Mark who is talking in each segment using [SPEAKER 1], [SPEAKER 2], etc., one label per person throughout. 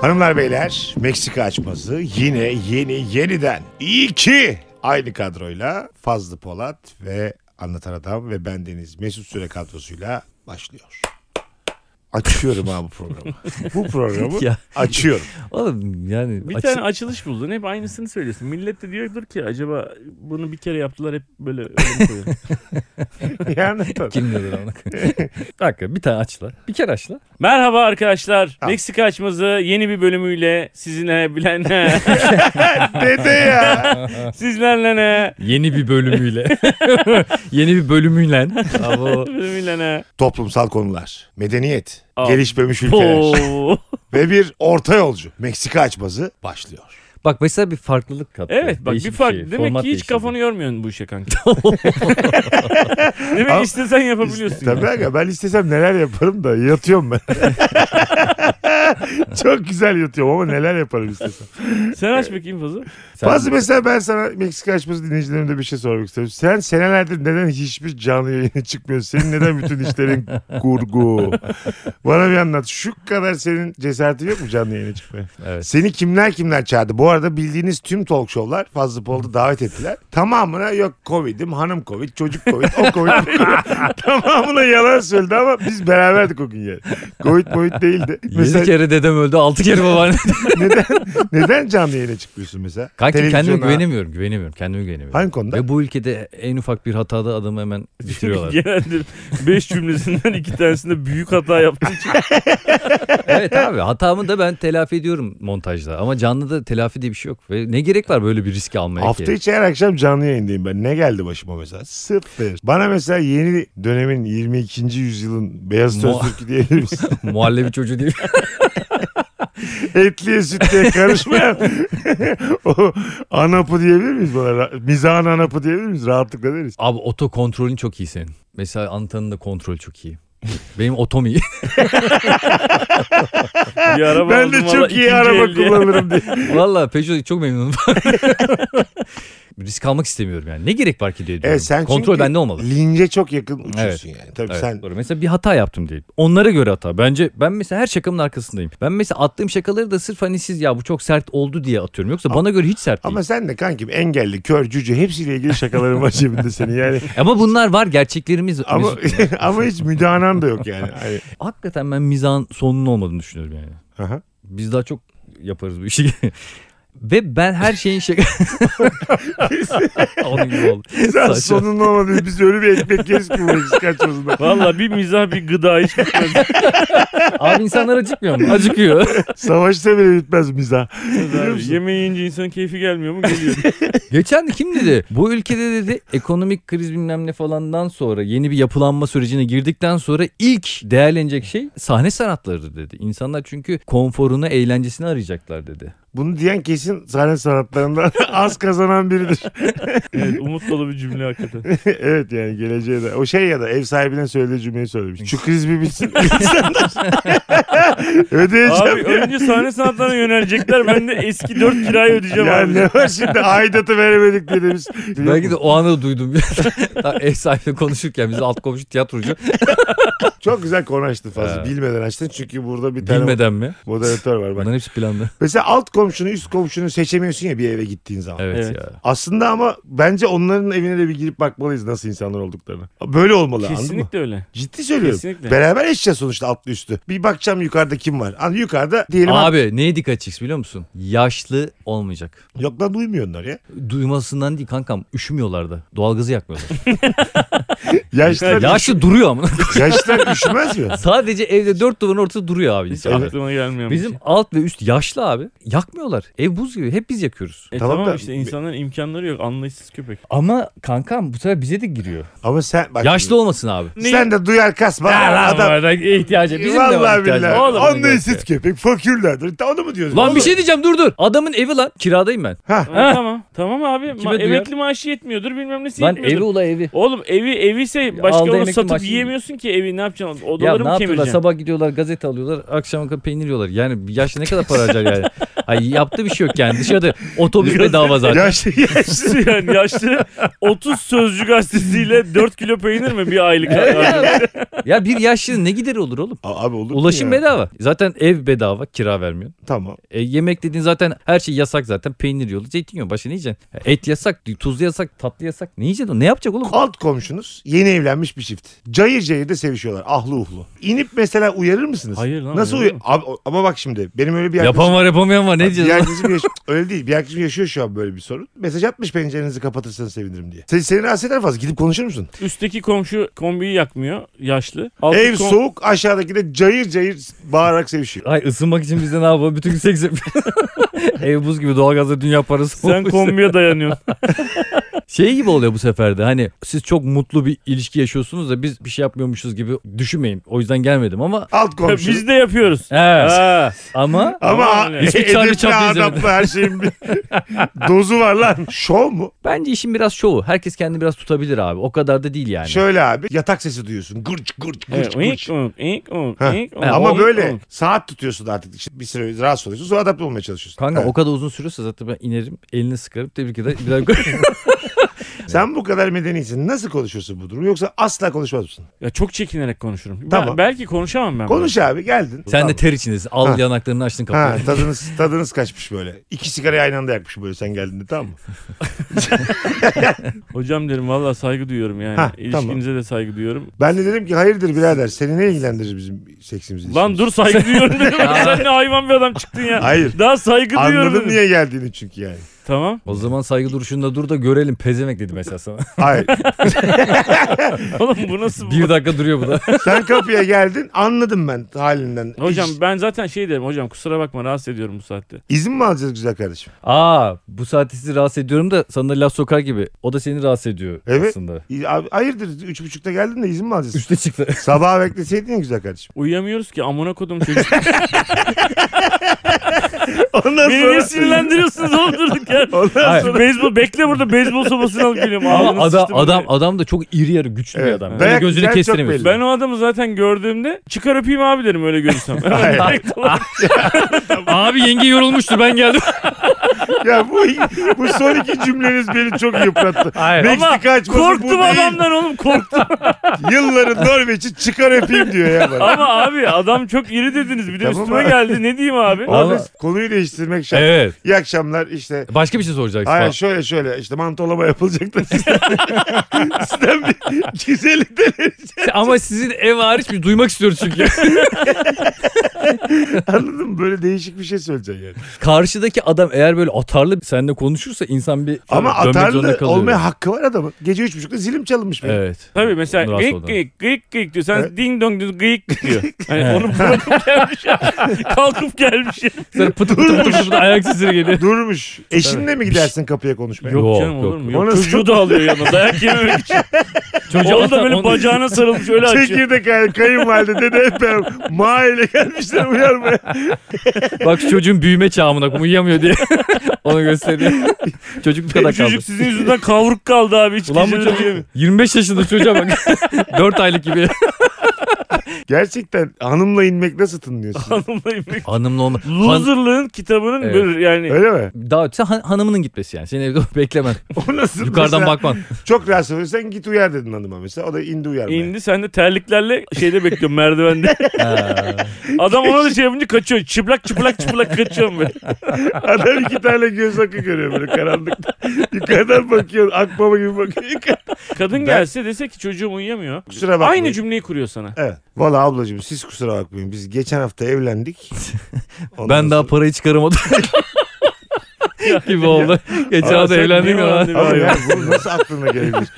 [SPEAKER 1] Hanımlar beyler Meksika açması yine yeni yeniden iyi ki aynı kadroyla Fazlı Polat ve Anlatan Adam ve bendeniz Mesut Süre kadrosuyla başlıyor. Açıyorum abi bu programı. bu programı
[SPEAKER 2] Ya.
[SPEAKER 1] açıyorum.
[SPEAKER 2] Oğlum yani
[SPEAKER 3] Bir
[SPEAKER 2] açı-
[SPEAKER 3] tane açılış buldun. Hep aynısını söylüyorsun. Millet de diyordur ki acaba bunu bir kere yaptılar hep böyle öyle mi koyuyor?
[SPEAKER 1] Yani
[SPEAKER 2] kim bilir onu. Dakika bir tane açla. Bir kere açla.
[SPEAKER 3] Merhaba arkadaşlar.
[SPEAKER 1] Tamam.
[SPEAKER 3] Meksika açmazı yeni bir bölümüyle sizinle bilen ne?
[SPEAKER 1] dede ya.
[SPEAKER 3] Sizlerle ne?
[SPEAKER 2] Yeni bir bölümüyle. Yeni bir bölümüyle. Ama
[SPEAKER 3] Bölümüyle ne?
[SPEAKER 1] Toplumsal konular, medeniyet,
[SPEAKER 3] Aa.
[SPEAKER 1] gelişmemiş ülkeler
[SPEAKER 3] Oo.
[SPEAKER 1] ve bir orta yolcu Meksika açması başlıyor.
[SPEAKER 2] bak mesela bir farklılık kattı.
[SPEAKER 3] Evet bak
[SPEAKER 2] Değişik
[SPEAKER 3] bir fark.
[SPEAKER 2] şey.
[SPEAKER 3] Demek
[SPEAKER 2] Format
[SPEAKER 3] ki hiç
[SPEAKER 2] değiştirdi.
[SPEAKER 3] kafanı yormuyorsun bu işe kanka. Demek
[SPEAKER 1] Ama-
[SPEAKER 3] istesen yapabiliyorsun.
[SPEAKER 1] Tabii aga ben istesem neler yaparım da yatıyorum ben. Çok güzel yatıyorum ama neler yaparım istesem.
[SPEAKER 3] Sen aç bakayım fazla.
[SPEAKER 2] Sen-
[SPEAKER 1] Bazı mesela ben sana Meksika açması dinleyicilerime bir şey sormak istiyorum. Sen senelerdir neden hiçbir canlı yayına çıkmıyorsun? Senin neden bütün işlerin kurgu? Bana bir anlat. Şu kadar senin cesaretin yok mu canlı yayına çıkmaya?
[SPEAKER 2] Evet.
[SPEAKER 1] Seni kimler kimler çağırdı? Bu arada bildiğiniz tüm talk show'lar Fazlı
[SPEAKER 2] Hmm.
[SPEAKER 1] Polat'ı davet ettiler. Tamamına yok Covid'im, hanım Covid, çocuk Covid, o Covid. bu Covid. Tamamına yalan söyledi ama biz beraberdik o gün yani. Covid Covid değildi.
[SPEAKER 2] Yedi kere dedem öldü. Altı kere babaannem.
[SPEAKER 1] neden, neden canlı yayına çıkmıyorsun mesela?
[SPEAKER 2] Kanki kendime
[SPEAKER 1] Televizyona-
[SPEAKER 2] güvenemiyorum. Güvenemiyorum. Kendime güvenemiyorum.
[SPEAKER 1] Hangi konuda?
[SPEAKER 2] Ve bu ülkede en ufak bir hatada adamı hemen bitiriyorlar.
[SPEAKER 3] Genelde 5 cümlesinden iki tanesinde büyük hata yaptığın için.
[SPEAKER 2] evet abi hatamı da ben telafi ediyorum montajda. Ama canlıda telafi diye bir şey yok. Ve ne gerek var böyle bir riski almaya
[SPEAKER 1] Hafta
[SPEAKER 2] ki?
[SPEAKER 1] içi her akşam canlı yayındayım ben. Ne geldi başıma mesela? Sıfır. Bana mesela yeni dönemin 22. yüzyılın beyaz söz
[SPEAKER 2] Mo-
[SPEAKER 1] türkü diyebilir misin?
[SPEAKER 2] Muhallebi çocuğu değil.
[SPEAKER 1] Etliye sütliye karışmayan o anapı diyebilir miyiz bana? Ra- Mizahın anapı diyebilir miyiz? Rahatlıkla deriz.
[SPEAKER 2] Abi oto kontrolün çok iyi senin. Mesela Antan'ın da kontrolü çok iyi. Benim otom iyi.
[SPEAKER 3] Bir araba
[SPEAKER 1] ben
[SPEAKER 3] aldım
[SPEAKER 1] de
[SPEAKER 3] valla
[SPEAKER 1] çok iyi
[SPEAKER 3] ikinci
[SPEAKER 1] araba
[SPEAKER 3] el diye.
[SPEAKER 1] kullanırım diye.
[SPEAKER 2] Valla Peugeot çok memnunum. Risk almak istemiyorum yani. Ne gerek var ki diye diyorum.
[SPEAKER 1] Evet, sen
[SPEAKER 2] Kontrol
[SPEAKER 1] çünkü
[SPEAKER 2] bende olmalı.
[SPEAKER 1] Lince çok yakın uçuyorsun yani. Tabii
[SPEAKER 2] Evet,
[SPEAKER 1] sen
[SPEAKER 2] doğru. Mesela bir hata yaptım diye. Onlara göre hata. Bence ben mesela her şakamın arkasındayım. Ben mesela attığım şakaları da sırf hani siz ya bu çok sert oldu diye atıyorum. Yoksa bana göre hiç sert değil.
[SPEAKER 1] ama sen de kankim engelli, kör, cüce hepsiyle ilgili şakaların var cebinde senin yani.
[SPEAKER 2] Ama bunlar var gerçeklerimiz.
[SPEAKER 1] Ama
[SPEAKER 2] Mesut.
[SPEAKER 1] ama hiç müdahanan da yok yani. Hani-
[SPEAKER 2] Hakikaten ben mizahın sonunun olmadığını düşünüyorum yani.
[SPEAKER 1] Aha.
[SPEAKER 2] Biz daha çok yaparız bu işi. Ve ben her şeyin şaka... Onun gibi oldu.
[SPEAKER 1] Sen
[SPEAKER 2] Saçma.
[SPEAKER 1] sonun olmadı. Biz ölü bir ekmek yeriz ki bu eksik açmasında.
[SPEAKER 3] Valla bir mizah bir gıda hiç bitmez.
[SPEAKER 2] Abi insanlar acıkmıyor mu? Acıkıyor.
[SPEAKER 1] Savaşta bile bitmez mizah. Biliyor
[SPEAKER 3] Abi,
[SPEAKER 1] musun?
[SPEAKER 3] yemeği yiyince insanın keyfi gelmiyor mu? Geliyor.
[SPEAKER 2] Geçen de kim dedi? Bu ülkede dedi ekonomik kriz bilmem ne falandan sonra yeni bir yapılanma sürecine girdikten sonra ilk değerlenecek şey sahne sanatları dedi. İnsanlar çünkü konforunu, eğlencesini arayacaklar dedi.
[SPEAKER 1] Bunu diyen kesin sahne sanatlarından az kazanan biridir.
[SPEAKER 3] Evet, umut dolu bir cümle hakikaten.
[SPEAKER 1] evet yani geleceğe de. O şey ya da ev sahibine söylediği cümleyi söylemiş. Şu kriz bir bitsin. İnsanlar. Ödeyeceğim.
[SPEAKER 3] Abi önce sahne sanatlarına yönelecekler. Ben de eski dört kirayı ödeyeceğim
[SPEAKER 1] ya
[SPEAKER 3] abi.
[SPEAKER 1] ne var şimdi aidatı veremedik diye demiş.
[SPEAKER 2] Belki de o anı duydum. Tam Ev sahibiyle konuşurken bizim alt komşu tiyatrocu.
[SPEAKER 1] Çok güzel konu açtın fazla.
[SPEAKER 2] Ha.
[SPEAKER 1] Bilmeden açtın çünkü burada bir tane
[SPEAKER 2] Ee, Bilmeden mi?
[SPEAKER 1] moderatör var. Bak.
[SPEAKER 2] Bunların hepsi planlı.
[SPEAKER 1] Mesela alt komşunu üst komşunu seçemiyorsun ya bir eve gittiğin zaman.
[SPEAKER 2] Evet,
[SPEAKER 3] Evet.
[SPEAKER 2] ya.
[SPEAKER 1] Aslında ama bence onların evine de bir girip bakmalıyız nasıl insanlar olduklarını. Böyle olmalı anladın mı?
[SPEAKER 3] Kesinlikle öyle.
[SPEAKER 1] Ciddi söylüyorum.
[SPEAKER 3] Kesinlikle.
[SPEAKER 1] Beraber yaşayacağız sonuçta altlı üstü. Bir bakacağım yukarıda kim var. An yukarıda diyelim.
[SPEAKER 2] Abi neye dikkat çeksin biliyor musun? Yaşlı olmayacak.
[SPEAKER 1] Yok lan duymuyor onlar ya.
[SPEAKER 2] Duymasından değil kankam üşümüyorlar da. Doğalgazı yakmıyorlar.
[SPEAKER 1] Yaşlılar,
[SPEAKER 2] Yaşlı duruyor ama.
[SPEAKER 1] yaşlılar üşümez mi?
[SPEAKER 2] Sadece evde dört duvarın ortasında duruyor abi
[SPEAKER 3] Hiç
[SPEAKER 2] insanlar.
[SPEAKER 3] aklıma gelmiyor. bu
[SPEAKER 2] Bizim
[SPEAKER 3] şey.
[SPEAKER 2] alt ve üst yaşlı abi. Yakmıyorlar. Ev buz gibi. Hep biz yakıyoruz.
[SPEAKER 3] E
[SPEAKER 1] Tamam
[SPEAKER 3] tamam,
[SPEAKER 1] da-
[SPEAKER 3] işte insanların imkanları yok. Anlayışsız köpek.
[SPEAKER 2] Ama kankam bu sefer bize de giriyor.
[SPEAKER 1] Ama sen bak.
[SPEAKER 2] Yaşlı olmasın abi.
[SPEAKER 1] Sen de duyar kasma. adam.
[SPEAKER 2] ihtiyacı. Bizim de var
[SPEAKER 1] Vallahi
[SPEAKER 2] ihtiyacı.
[SPEAKER 1] billahi.
[SPEAKER 2] Oğlum, bunu
[SPEAKER 1] Anlayışsız
[SPEAKER 2] göster.
[SPEAKER 1] köpek. Fakirlerdir. Onu mu diyoruz?
[SPEAKER 2] Lan bir
[SPEAKER 1] Oğlum,
[SPEAKER 2] şey diyeceğim dur dur. Adamın evi lan. Kiradayım ben.
[SPEAKER 1] Ha.
[SPEAKER 3] Ha,
[SPEAKER 2] Ha.
[SPEAKER 3] Tamam. Tamam abi. Ma-
[SPEAKER 2] duyar?
[SPEAKER 3] emekli maaşı yetmiyordur. Bilmem nesi
[SPEAKER 2] Lan
[SPEAKER 3] yetmiyordur.
[SPEAKER 2] evi ula evi.
[SPEAKER 3] Oğlum evi evi ise
[SPEAKER 2] aldı
[SPEAKER 3] başka onu
[SPEAKER 2] emekli
[SPEAKER 3] satıp
[SPEAKER 2] maaşı
[SPEAKER 3] yiyemiyorsun ki evi ne yapacaksın?
[SPEAKER 2] Ya
[SPEAKER 3] Odaları
[SPEAKER 2] ne
[SPEAKER 3] mı
[SPEAKER 2] yapıyorlar?
[SPEAKER 3] kemireceksin?
[SPEAKER 2] Sabah gidiyorlar gazete alıyorlar. Akşama kadar peynir yiyorlar. Yani bir yaşlı ne kadar para harcar yani. Ay yaptığı bir şey yok yani. Dışarıda otobüs bedava zaten.
[SPEAKER 1] Yaşlı yaşlı.
[SPEAKER 3] Yaşlı yani yaşlı 30 sözcü gazetesiyle 4 kilo peynir mi bir aylık?
[SPEAKER 2] ya bir yaşlı ne gideri olur oğlum?
[SPEAKER 1] A- Abi olur mu
[SPEAKER 2] Ulaşım
[SPEAKER 1] ya?
[SPEAKER 2] bedava. Zaten ev bedava kira vermiyor.
[SPEAKER 1] Tamam.
[SPEAKER 2] E, yemek dediğin zaten her şey yasak zaten. Peynir yolu, zeytinyağı başka ne yiyeceksin? E, Et yasak, tuzlu yasak, tatlı yasak. Ne yiyeceksin? Ne yapacak oğlum?
[SPEAKER 1] Alt komşunuz yeni evlenmiş bir çift. Cayır cayır da sevişiyorlar. Ahlı uhlu. İnip mesela uyarır mısınız?
[SPEAKER 3] Hayır lan,
[SPEAKER 1] Nasıl
[SPEAKER 3] uyarır
[SPEAKER 1] uyar? Abi, o- Ama bak şimdi benim öyle bir
[SPEAKER 2] Yapan var yapamayan var ne
[SPEAKER 1] Bir
[SPEAKER 2] diyeceğiz? oğlum?
[SPEAKER 1] arkadaşım yaş- öyle değil. Bir arkadaşım yaşıyor şu an böyle bir sorun. Mesaj atmış pencerenizi kapatırsanız sevinirim diye. Sen, seni rahatsız eder fazla. Gidip konuşur musun?
[SPEAKER 3] Üstteki komşu kombiyi yakmıyor yaşlı. Alttaki
[SPEAKER 1] Ev
[SPEAKER 3] kom-
[SPEAKER 1] soğuk aşağıdaki de cayır cayır bağırarak sevişiyor.
[SPEAKER 2] Ay ısınmak için biz de ne yapalım? Bütün gün seks yapıyoruz. Ev buz gibi doğalgazla dünya parası.
[SPEAKER 3] Sen
[SPEAKER 2] olmuş.
[SPEAKER 3] kombiye dayanıyorsun.
[SPEAKER 2] Şey gibi oluyor bu sefer de hani siz çok mutlu bir ilişki yaşıyorsunuz da biz bir şey yapmıyormuşuz gibi düşünmeyin. O yüzden gelmedim ama
[SPEAKER 1] Alt komşu.
[SPEAKER 3] Biz de yapıyoruz.
[SPEAKER 2] evet.
[SPEAKER 3] Ha.
[SPEAKER 2] ama
[SPEAKER 1] Ama
[SPEAKER 3] Aman
[SPEAKER 2] Hiçbir
[SPEAKER 1] edepli
[SPEAKER 2] çarpı çarpı
[SPEAKER 1] adaplı her şeyin bir dozu var lan. Şov mu?
[SPEAKER 2] bence işin biraz şovu. Herkes kendini biraz tutabilir abi. O kadar da değil yani.
[SPEAKER 1] Şöyle abi yatak sesi duyuyorsun. Gırç gırç gırç
[SPEAKER 3] Evet,
[SPEAKER 1] gırç.
[SPEAKER 3] ink, unk, ink, unk,
[SPEAKER 1] Ha.
[SPEAKER 3] ink, unk,
[SPEAKER 1] Ama
[SPEAKER 3] ink,
[SPEAKER 1] böyle
[SPEAKER 3] unk.
[SPEAKER 1] saat tutuyorsun artık. İşte bir süre rahatsız oluyorsun. Sonra adapte olmaya çalışıyorsun.
[SPEAKER 2] Kanka
[SPEAKER 1] Ha.
[SPEAKER 2] o kadar uzun sürüyorsa zaten ben inerim elini sıkarım tebrik eder. Bir daha
[SPEAKER 1] Sen bu kadar medenisin. Nasıl konuşuyorsun bu durumu? Yoksa asla konuşmaz mısın?
[SPEAKER 3] Ya çok çekinerek konuşurum. Ben-
[SPEAKER 1] Tamam.
[SPEAKER 3] belki konuşamam ben.
[SPEAKER 1] Konuş abi geldin.
[SPEAKER 2] Sen
[SPEAKER 1] Tamam.
[SPEAKER 2] de ter içindesin. Al
[SPEAKER 1] Ha.
[SPEAKER 2] yanaklarını açtın
[SPEAKER 1] Ha,
[SPEAKER 2] kapıyı.
[SPEAKER 1] tadınız tadınız kaçmış böyle. İki sigarayı aynı anda yakmış böyle sen geldiğinde tamam mı?
[SPEAKER 3] Hocam derim valla saygı duyuyorum yani.
[SPEAKER 1] Ha,
[SPEAKER 3] İlişkinize de saygı duyuyorum.
[SPEAKER 1] Ben de dedim ki hayırdır birader seni ne ilgilendirir bizim seksimiz
[SPEAKER 3] Lan dur saygı duyuyorum dedim. Sen ne hayvan bir adam çıktın ya.
[SPEAKER 1] Hayır.
[SPEAKER 3] Daha saygı duyuyorum
[SPEAKER 1] Anladım
[SPEAKER 3] dedim.
[SPEAKER 1] niye geldiğini çünkü yani.
[SPEAKER 3] Tamam.
[SPEAKER 2] O zaman saygı duruşunda dur da görelim pezemek dedi mesela sana.
[SPEAKER 1] Hayır.
[SPEAKER 3] Oğlum bu nasıl?
[SPEAKER 2] bir dakika duruyor bu da.
[SPEAKER 1] sen kapıya geldin anladım ben halinden.
[SPEAKER 3] Hocam
[SPEAKER 1] İz-
[SPEAKER 3] ben zaten şey derim hocam kusura bakma rahatsız ediyorum bu saatte.
[SPEAKER 1] izin mi alacağız güzel kardeşim?
[SPEAKER 2] Aa bu saati sizi rahatsız ediyorum da sana da laf sokar gibi. O da seni rahatsız ediyor
[SPEAKER 1] Evet.
[SPEAKER 2] aslında.
[SPEAKER 1] İ- Abi, hayırdır üç buçukta geldin de izin mi alacağız?
[SPEAKER 2] Üste çıktı.
[SPEAKER 1] Sabaha bekleseydin ya güzel kardeşim.
[SPEAKER 3] Uyuyamıyoruz ki amına kodum çocuk.
[SPEAKER 1] Ondan
[SPEAKER 3] Beni niye
[SPEAKER 1] sonra...
[SPEAKER 3] sinirlendiriyorsunuz oğlum durduk ya.
[SPEAKER 1] Ondan
[SPEAKER 2] Hayır.
[SPEAKER 1] sonra...
[SPEAKER 3] Beyzbol bekle burada beyzbol sopasını alıp geliyorum.
[SPEAKER 2] Ama
[SPEAKER 3] Ağzını
[SPEAKER 2] adam,
[SPEAKER 3] sıçtım
[SPEAKER 2] adam,
[SPEAKER 3] buraya.
[SPEAKER 2] adam da çok iri yarı güçlü bir
[SPEAKER 1] Evet.
[SPEAKER 2] adam.
[SPEAKER 1] Dayak
[SPEAKER 2] Böyle gözünü
[SPEAKER 1] güzel, çok
[SPEAKER 2] kestiremiyorsun.
[SPEAKER 1] belli.
[SPEAKER 3] Ben o adamı zaten gördüğümde çıkar öpeyim abi derim öyle görürsem.
[SPEAKER 1] Hayır.
[SPEAKER 3] Hemen direkt olarak.
[SPEAKER 2] Abi yenge yorulmuştu ben geldim.
[SPEAKER 1] Ya bu, bu son iki cümleniz beni çok yıprattı.
[SPEAKER 2] Hayır.
[SPEAKER 1] Meksika açması bu
[SPEAKER 3] Korktum
[SPEAKER 1] değil.
[SPEAKER 3] adamdan oğlum korktum.
[SPEAKER 1] Yılların Norveç'i çıkar öpeyim diyor ya bana.
[SPEAKER 3] Ama abi adam çok iri dediniz bir de
[SPEAKER 1] Tamam
[SPEAKER 3] üstüme
[SPEAKER 1] abi.
[SPEAKER 3] geldi ne diyeyim abi.
[SPEAKER 2] Ama-
[SPEAKER 1] Abi konuyu değiştirmek şart.
[SPEAKER 2] evet.
[SPEAKER 1] İyi akşamlar işte.
[SPEAKER 2] Başka bir şey soracaksın.
[SPEAKER 1] Aynen şöyle şöyle işte mantolama yapılacak da sizden, sizden bir güzellik de
[SPEAKER 2] Ama sizin ev hariç bir duymak istiyoruz çünkü.
[SPEAKER 1] anladın mı? Böyle değişik bir şey söyleyeceksin yani.
[SPEAKER 2] Karşıdaki adam eğer böyle atarlı seninle konuşursa insan bir
[SPEAKER 1] Ama
[SPEAKER 2] dönmek zorunda
[SPEAKER 1] atarlı
[SPEAKER 2] kalıyor.
[SPEAKER 1] olmaya hakkı var adamın. Gece üç buçukta zilim çalınmış benim.
[SPEAKER 2] Evet.
[SPEAKER 3] Tabii mesela
[SPEAKER 2] Rahatsız
[SPEAKER 3] gıyık
[SPEAKER 2] oldu.
[SPEAKER 3] gıyık gıyık gıyık diyor. Sen
[SPEAKER 1] Evet.
[SPEAKER 3] ding dong diyor gıyık diyor. Hani
[SPEAKER 2] Evet.
[SPEAKER 3] onu bırakıp gelmiş ya. Kalkıp gelmiş ya.
[SPEAKER 2] Sonra pıtı pıtı pıtı pıtı ayak sesleri geliyor.
[SPEAKER 1] Durmuş. Eşinle mi gidersin kapıya konuşmaya?
[SPEAKER 3] Yok,
[SPEAKER 2] Yok,
[SPEAKER 3] canım
[SPEAKER 2] yok.
[SPEAKER 3] olur mu? Yok.
[SPEAKER 1] Ona-
[SPEAKER 3] Çocuğu da alıyor yanına dayak yememek için.
[SPEAKER 2] Çocuğa
[SPEAKER 3] Oğlu da
[SPEAKER 2] atan-
[SPEAKER 3] böyle
[SPEAKER 2] onu-
[SPEAKER 3] bacağına sarılmış öyle açıyor.
[SPEAKER 1] Çekirdek ay- kayınvalide dede hep beraber mahalle gelmişler uyarmaya.
[SPEAKER 2] Bak şu çocuğun büyüme çağımına uyuyamıyor diye. Onu gösteriyor. Çocuk bu kadar kaldı.
[SPEAKER 3] Çocuk sizin yüzünden kavruk kaldı abi. Hiç
[SPEAKER 2] Ulan bu
[SPEAKER 3] geceleri
[SPEAKER 2] çocuk 25 yaşında çocuğa bak. 4 aylık gibi.
[SPEAKER 1] Gerçekten hanımla inmek nasıl tınlıyorsun?
[SPEAKER 3] Anlamayın.
[SPEAKER 2] Hanımla olma.
[SPEAKER 3] Loserlığın kitabının
[SPEAKER 2] Evet.
[SPEAKER 3] bir yani
[SPEAKER 1] Öyle mi?
[SPEAKER 2] Daha ötesi han- hanımının gitmesi yani. Senin evde beklemen.
[SPEAKER 1] O nasıl?
[SPEAKER 2] Yukarıdan
[SPEAKER 1] Mesela
[SPEAKER 2] bakman.
[SPEAKER 1] Çok rahatsız oluyorsan git uyar dedin hanıma mesela. O da indi uyarmaya.
[SPEAKER 3] indi sen de terliklerle şeyde bekliyorum merdivende. Adam ona da şey yapınca kaçıyor. Çıplak çıplak çıplak kaçıyorum ben.
[SPEAKER 1] Adam iki tane göz akı görüyor böyle karanlıkta. Yukarıdan bakıyor. Akbaba gibi bakıyor. yukarı.
[SPEAKER 3] Kadın gelse dese ki çocuğum uyuyamıyor.
[SPEAKER 1] Kusura bakmayın.
[SPEAKER 3] Aynı cümleyi kuruyor sana.
[SPEAKER 1] Evet. Valla ablacığım siz kusura bakmayın. Biz geçen hafta evlendik. Ondan
[SPEAKER 2] Ben daha
[SPEAKER 1] sonra-
[SPEAKER 2] parayı çıkaramadım. gibi oldu. Geçen hafta
[SPEAKER 3] sen
[SPEAKER 2] evlendim
[SPEAKER 3] niye
[SPEAKER 2] ya.
[SPEAKER 3] evlendin?
[SPEAKER 1] Ama ya bu nasıl aklına gelebilir?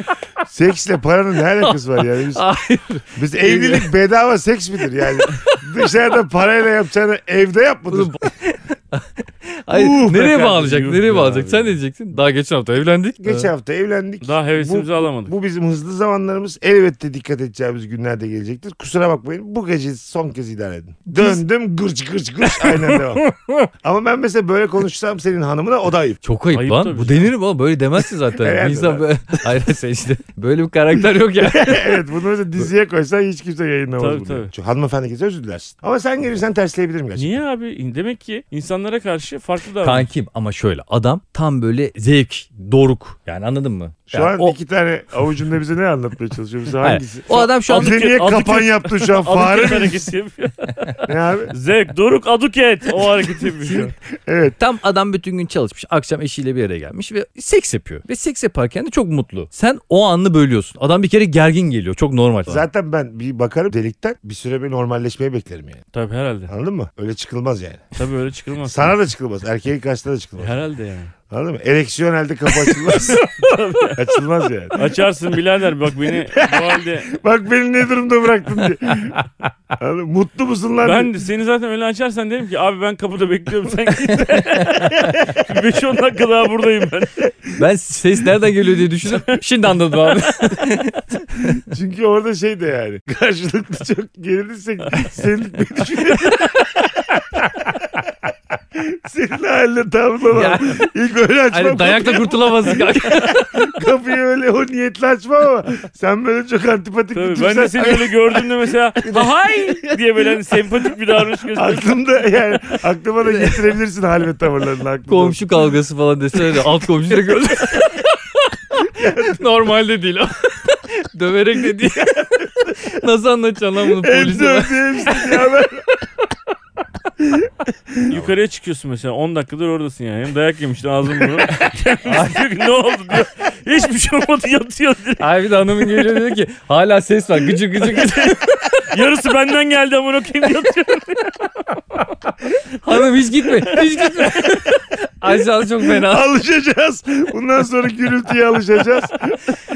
[SPEAKER 1] Seksle paranın ne alakası var yani? Biz,
[SPEAKER 2] Hayır.
[SPEAKER 1] biz evlilik
[SPEAKER 3] Ee,
[SPEAKER 1] bedava seks midir yani? Dışarıda parayla yapacağını evde yap mıdır?
[SPEAKER 2] Oğlum, Hayır.
[SPEAKER 1] Uh, be
[SPEAKER 2] nereye
[SPEAKER 1] kardeşim,
[SPEAKER 2] bağlayacak?
[SPEAKER 3] yuh
[SPEAKER 2] Nereye
[SPEAKER 3] be
[SPEAKER 2] bağlayacak?
[SPEAKER 3] abi.
[SPEAKER 2] Sen ne diyeceksin? Daha geçen hafta evlendik.
[SPEAKER 1] Geçen hafta evlendik.
[SPEAKER 3] Daha hevesimizi
[SPEAKER 1] Bu-
[SPEAKER 3] alamadık.
[SPEAKER 1] Bu bizim hızlı zamanlarımız. Elbette dikkat edeceğimiz günlerde gelecektir. Kusura bakmayın. Bu gece son kez idare edin. Döndüm gırç gırç gırç. Aynen devam. Ama ben mesela böyle konuşsam senin hanımına o da ayıp.
[SPEAKER 2] Çok ayıp,
[SPEAKER 3] Ayıp
[SPEAKER 2] lan.
[SPEAKER 3] tabii.
[SPEAKER 2] Bu denir mi oğlum? Böyle demezsin zaten.
[SPEAKER 1] Herhalde
[SPEAKER 2] Bir İnsan
[SPEAKER 1] lan.
[SPEAKER 2] böyle... Hayır sen işte böyle bir karakter yok ya.
[SPEAKER 1] evet bunu mesela diziye koysan hiç kimse yayınlamaz
[SPEAKER 3] Tabii,
[SPEAKER 1] bunu.
[SPEAKER 3] tabii.
[SPEAKER 1] Çünkü hanımefendi kimse özür dilersin. Ama sen gelirsen tersleyebilirim gerçekten.
[SPEAKER 3] Niye abi? Demek ki insanlara karşı farklı da.
[SPEAKER 2] Kankim ama şöyle adam tam böyle zevk, doruk yani anladın mı?
[SPEAKER 1] Şu
[SPEAKER 2] Yani
[SPEAKER 1] an
[SPEAKER 2] o,
[SPEAKER 1] iki tane avucunda bize ne anlatmaya çalışıyor? Bize
[SPEAKER 2] Hayır.
[SPEAKER 1] hangisi?
[SPEAKER 2] o adam şu an
[SPEAKER 1] Bize niye
[SPEAKER 3] Adıkö-
[SPEAKER 1] kapan yaptın şu an?
[SPEAKER 3] Aduket
[SPEAKER 1] Fare mi?
[SPEAKER 3] hareketi yapıyor.
[SPEAKER 1] Ne abi?
[SPEAKER 3] Zevk, Doruk, Aduket. O hareketi yapıyor.
[SPEAKER 1] Evet.
[SPEAKER 2] tam adam bütün gün çalışmış. Akşam eşiyle bir araya gelmiş ve seks yapıyor. Ve seks yaparken de çok mutlu. Sen o anını bölüyorsun. Adam bir kere gergin geliyor. Çok normal.
[SPEAKER 1] Zaten ben bir bakarım delikten bir süre bir normalleşmeyi beklerim yani.
[SPEAKER 3] Tabii herhalde.
[SPEAKER 1] Anladın mı? Öyle çıkılmaz yani.
[SPEAKER 3] Tabii öyle çıkılmaz.
[SPEAKER 1] Sana da çıkılmaz. Erkeğin karşısına da çıkılmaz.
[SPEAKER 3] Herhalde yani.
[SPEAKER 1] Anladın mı? Ereksiyon elde kapı açılmaz. açılmaz yani.
[SPEAKER 3] Açarsın birader bak beni bu halde.
[SPEAKER 1] Bak beni ne durumda bıraktın diye. Anladın mı? Mutlu musun lan?
[SPEAKER 3] Ben de seni zaten öyle açarsan derim ki abi ben kapıda bekliyorum sen git. 5-10 dakika daha buradayım ben.
[SPEAKER 2] Ben ses nereden geliyor diye düşündüm. Şimdi anladım abi.
[SPEAKER 1] Çünkü orada şey de yani. Karşılıklı çok gerilirsek senlik bir düşünüyorum. Senin haline tavrına bak. İlk öyle açmam.
[SPEAKER 2] Hani dayakla kurtulamazsın kanka.
[SPEAKER 1] Kapıyı öyle o niyetle açmam ama sen böyle çok antipatik bir
[SPEAKER 3] Tabii
[SPEAKER 1] tipsen.
[SPEAKER 3] ben de seni öyle gördüğümde mesela hay diye böyle hani sempatik bir davranış gösteriyorsun.
[SPEAKER 1] Aklımda yani aklıma da getirebilirsin hal ve tavırlarını aklımda.
[SPEAKER 2] Komşu kavgası falan desene de alt komşu direkt öldü. Normalde değil ama. Döverek de değil. Nasıl anlatacaksın lan bunu
[SPEAKER 1] Hepsi
[SPEAKER 2] polise?
[SPEAKER 1] öptü, hepsi ya ben.
[SPEAKER 3] Yukarıya çıkıyorsun mesela 10 dakikadır oradasın yani. Hem dayak yemiştin ağzın bunu. diyor ki ne oldu diyor. Hiçbir şey olmadı yatıyor direkt.
[SPEAKER 2] Abi de hanımın geliyor dedi ki hala ses var gıcır gıcır gıcır.
[SPEAKER 3] Yarısı benden geldi ama okuyayım yatıyor.
[SPEAKER 2] Hanım hiç gitme hiç gitme. Aşağısı çok fena.
[SPEAKER 1] alışacağız. Bundan sonra gürültüye alışacağız.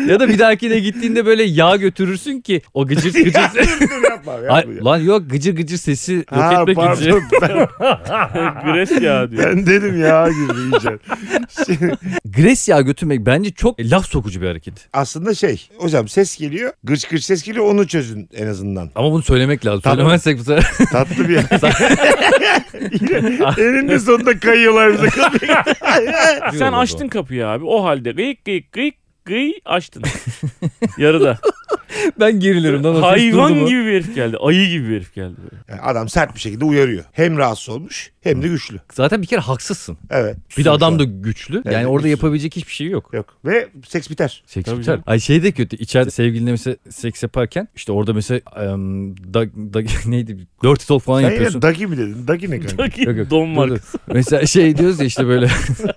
[SPEAKER 2] Ya da bir dahakine gittiğinde böyle yağ götürürsün ki o gıcır gıcır
[SPEAKER 1] Ya,
[SPEAKER 2] ses.
[SPEAKER 1] dur, dur, yapma, yapma,
[SPEAKER 2] Ay,
[SPEAKER 1] yapma.
[SPEAKER 2] lan yok gıcır gıcır sesi yok
[SPEAKER 1] Ha,
[SPEAKER 2] etmek için.
[SPEAKER 1] pardon ben,
[SPEAKER 3] Gres ya diyor.
[SPEAKER 1] ben dedim ya gibi iyice. Şimdi,
[SPEAKER 2] Gres yağı götürmek bence çok laf sokucu bir hareket.
[SPEAKER 1] aslında şey hocam ses geliyor gıç gıç ses geliyor onu çözün en azından.
[SPEAKER 2] Ama bunu söylemek lazım.
[SPEAKER 1] Tabii.
[SPEAKER 2] Söylemezsek bu sefer.
[SPEAKER 1] Tatlı bir Yine eninde sonunda kayıyorlar bize.
[SPEAKER 3] Sen açtın kapıyı abi o halde gıyık gıyık gıyık gıy açtın. Yarıda.
[SPEAKER 2] Ben gerilirim. Lan o ses durdu
[SPEAKER 3] Hayvan
[SPEAKER 2] mu?
[SPEAKER 3] gibi bir herif geldi. Ayı gibi bir herif geldi. böyle.
[SPEAKER 1] Yani adam sert bir şekilde uyarıyor. Hem rahatsız olmuş hem de güçlü.
[SPEAKER 2] Zaten bir kere haksızsın.
[SPEAKER 1] Evet.
[SPEAKER 2] Bir de
[SPEAKER 1] Sonuçta.
[SPEAKER 2] adam da güçlü. Yani
[SPEAKER 1] Evet,
[SPEAKER 2] orada
[SPEAKER 1] güçlü.
[SPEAKER 2] yapabilecek hiçbir şey yok.
[SPEAKER 1] Yok. Ve seks biter.
[SPEAKER 2] Seks
[SPEAKER 3] Tabii
[SPEAKER 2] biter.
[SPEAKER 3] canım.
[SPEAKER 2] Ay şey de kötü. İçeride sevgilinle mesela seks yaparken işte orada mesela em, da, da, neydi? Dirty talk falan
[SPEAKER 1] Sen
[SPEAKER 2] yapıyorsun.
[SPEAKER 1] yine dagi mi dedin? Dagi ne kanka?
[SPEAKER 3] Bak,
[SPEAKER 2] Yok, yok.
[SPEAKER 3] Don
[SPEAKER 2] Dur,
[SPEAKER 3] markası.
[SPEAKER 2] dur. Mesela şey diyoruz ya işte böyle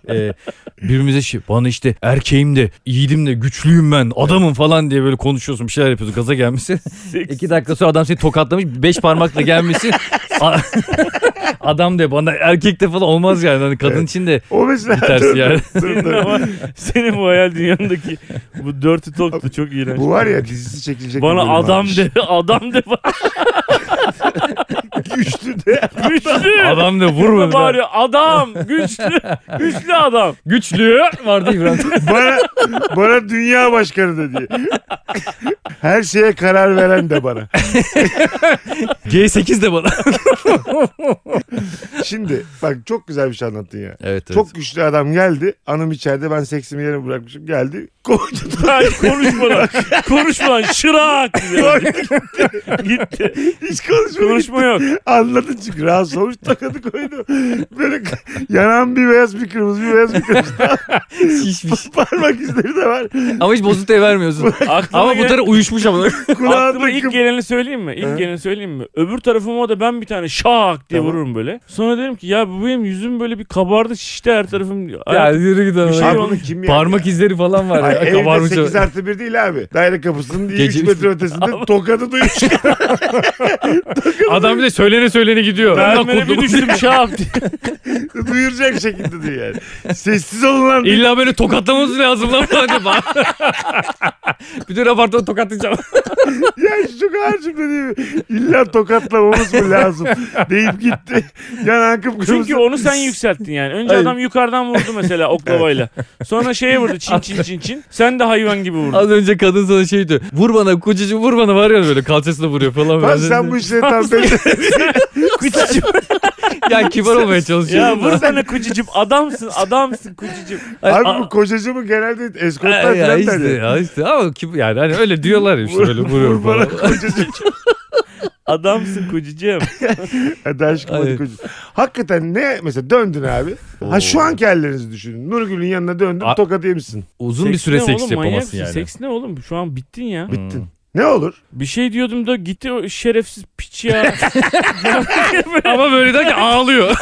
[SPEAKER 2] e, birbirimize şey bana işte erkeğim de yiğidim de güçlüyüm ben adamım falan diye böyle konuşuyorsun bir şeyler yapıyorsun gaza gelmişsin.
[SPEAKER 3] Seks.
[SPEAKER 2] İki dakika sonra adam seni tokatlamış beş parmakla gelmişsin. A- adam de bana erkek de falan olmaz yani Hani kadın için de
[SPEAKER 1] O mesela.
[SPEAKER 2] bir tersi yani.
[SPEAKER 1] Dur,
[SPEAKER 3] Senin
[SPEAKER 1] dur.
[SPEAKER 3] ama senin bu hayal dünyandaki bu dirty talk da çok iğrenç.
[SPEAKER 1] Bu var ya dizisi çekilecek. bir
[SPEAKER 3] Bana
[SPEAKER 1] bölüm
[SPEAKER 3] adam
[SPEAKER 1] varmış.
[SPEAKER 3] de, adam de bak.
[SPEAKER 1] Güçlü de.
[SPEAKER 3] Güçlü.
[SPEAKER 2] adam de vurma.
[SPEAKER 3] Var
[SPEAKER 2] bana.
[SPEAKER 3] ya adam güçlü. Güçlü adam.
[SPEAKER 2] Güçlü vardı İbrahim.
[SPEAKER 1] Bana, bana dünya başkanı da diye. Her şeye karar veren de bana.
[SPEAKER 2] G8 de bana.
[SPEAKER 1] Şimdi bak çok güzel bir şey anlattın ya.
[SPEAKER 2] Evet, evet.
[SPEAKER 1] Çok güçlü adam geldi. Anım içeride ben seksimi yere bırakmışım. Geldi. Koydu.
[SPEAKER 3] Ay, konuşma lan. Konuşma lan. Şırak. diyor. Gitti.
[SPEAKER 1] Hiç konuşmadı.
[SPEAKER 3] Konuşma yok.
[SPEAKER 1] Anladın çünkü rahatsız olmuş tokadı koydu. Böyle yanan bir beyaz bir kırmızı bir beyaz bir kırmızı.
[SPEAKER 2] Şişmiş.
[SPEAKER 1] Parmak izleri de var.
[SPEAKER 2] Ama hiç bozuntuya vermiyorsun.
[SPEAKER 3] Aklıma
[SPEAKER 2] Ama bu
[SPEAKER 3] gelen-
[SPEAKER 2] taraf uyuşmuş ama.
[SPEAKER 1] Kulağında
[SPEAKER 3] Aklıma ilk
[SPEAKER 1] kıp-
[SPEAKER 3] geleni söyleyeyim mi? İlk
[SPEAKER 1] He.
[SPEAKER 3] geleni söyleyeyim mi? Öbür tarafıma da ben bir tane şak diye
[SPEAKER 1] Tamam.
[SPEAKER 3] vururum böyle. Sonra derim ki ya bu benim yüzüm böyle bir kabardı şişti her tarafım.
[SPEAKER 2] ya
[SPEAKER 3] Hayatım-
[SPEAKER 2] yürü git ama.
[SPEAKER 3] Bir şey
[SPEAKER 1] Abi
[SPEAKER 3] yok.
[SPEAKER 1] bunu kim yer
[SPEAKER 2] Parmak izleri falan var
[SPEAKER 1] Ay,
[SPEAKER 2] ya.
[SPEAKER 1] evde
[SPEAKER 2] Kabarmış
[SPEAKER 1] 8
[SPEAKER 2] o.
[SPEAKER 1] artı 1 değil abi. Daire kapısının diye
[SPEAKER 2] Gece
[SPEAKER 1] 3
[SPEAKER 2] üç
[SPEAKER 1] metre ötesinde tokadı duymuş.
[SPEAKER 2] Adam bir de söylene söylene gidiyor. Ulan
[SPEAKER 3] Mermere bir
[SPEAKER 2] kurtulmuş.
[SPEAKER 3] düştüm şak diye.
[SPEAKER 1] Duyuracak şekilde diyor yani. Sessiz olun lan.
[SPEAKER 2] İlla böyle tokatlaması lazım lan falan diye bağır. Bütün apartmanı tokatlayacağım.
[SPEAKER 1] Ya şu çok ağır cümle değil mi? İlla tokatlamamız mı lazım? Deyip gitti. Yanan kıpkırmızı.
[SPEAKER 3] Çünkü onu sen yükselttin yani. Önce
[SPEAKER 2] Hayır.
[SPEAKER 3] adam yukarıdan vurdu mesela oklavayla. Sonra şeye vurdu çin çin çin çin. Sen de hayvan gibi vurdun.
[SPEAKER 2] Az önce kadın sana şey diyor. Vur bana kocacığım vur bana var ya böyle kalçasına vuruyor falan.
[SPEAKER 1] Lan
[SPEAKER 2] böyle.
[SPEAKER 1] sen bu işleri tam belli.
[SPEAKER 2] Ya kibar olmaya
[SPEAKER 3] Ya
[SPEAKER 2] çalışıyorsun.
[SPEAKER 3] vursana kucucum adamsın adamsın kucucum.
[SPEAKER 2] Ay,
[SPEAKER 1] Abi
[SPEAKER 2] a-
[SPEAKER 1] bu kocacımı genelde eskortlar
[SPEAKER 2] Ay, ya
[SPEAKER 1] falan
[SPEAKER 2] işte,
[SPEAKER 1] derler.
[SPEAKER 2] ya işte ama kim, yani hani öyle diyorlar ya işte böyle vuruyor
[SPEAKER 1] Vur bana
[SPEAKER 2] falan.
[SPEAKER 1] kocacım.
[SPEAKER 3] Adamsın kucucuğum.
[SPEAKER 1] Hadi aşkım hadi
[SPEAKER 2] Ay.
[SPEAKER 1] kocuğum. Hakikaten ne mesela döndün abi. Ha şu anki hallerinizi düşünün. Nurgül'ün yanına döndün
[SPEAKER 2] A-
[SPEAKER 1] tokat yemişsin.
[SPEAKER 2] Uzun bir
[SPEAKER 3] Seks
[SPEAKER 2] süre
[SPEAKER 3] ne
[SPEAKER 2] seks
[SPEAKER 3] oğlum, manyak
[SPEAKER 2] yapamazsın
[SPEAKER 3] mısın?
[SPEAKER 2] yani.
[SPEAKER 3] Seks ne oğlum? Şu an bittin ya.
[SPEAKER 2] Hmm.
[SPEAKER 1] Bittin. Ne olur?
[SPEAKER 3] Bir şey diyordum da gitti o şerefsiz piç ya.
[SPEAKER 2] Ama böyle derken ağlıyor.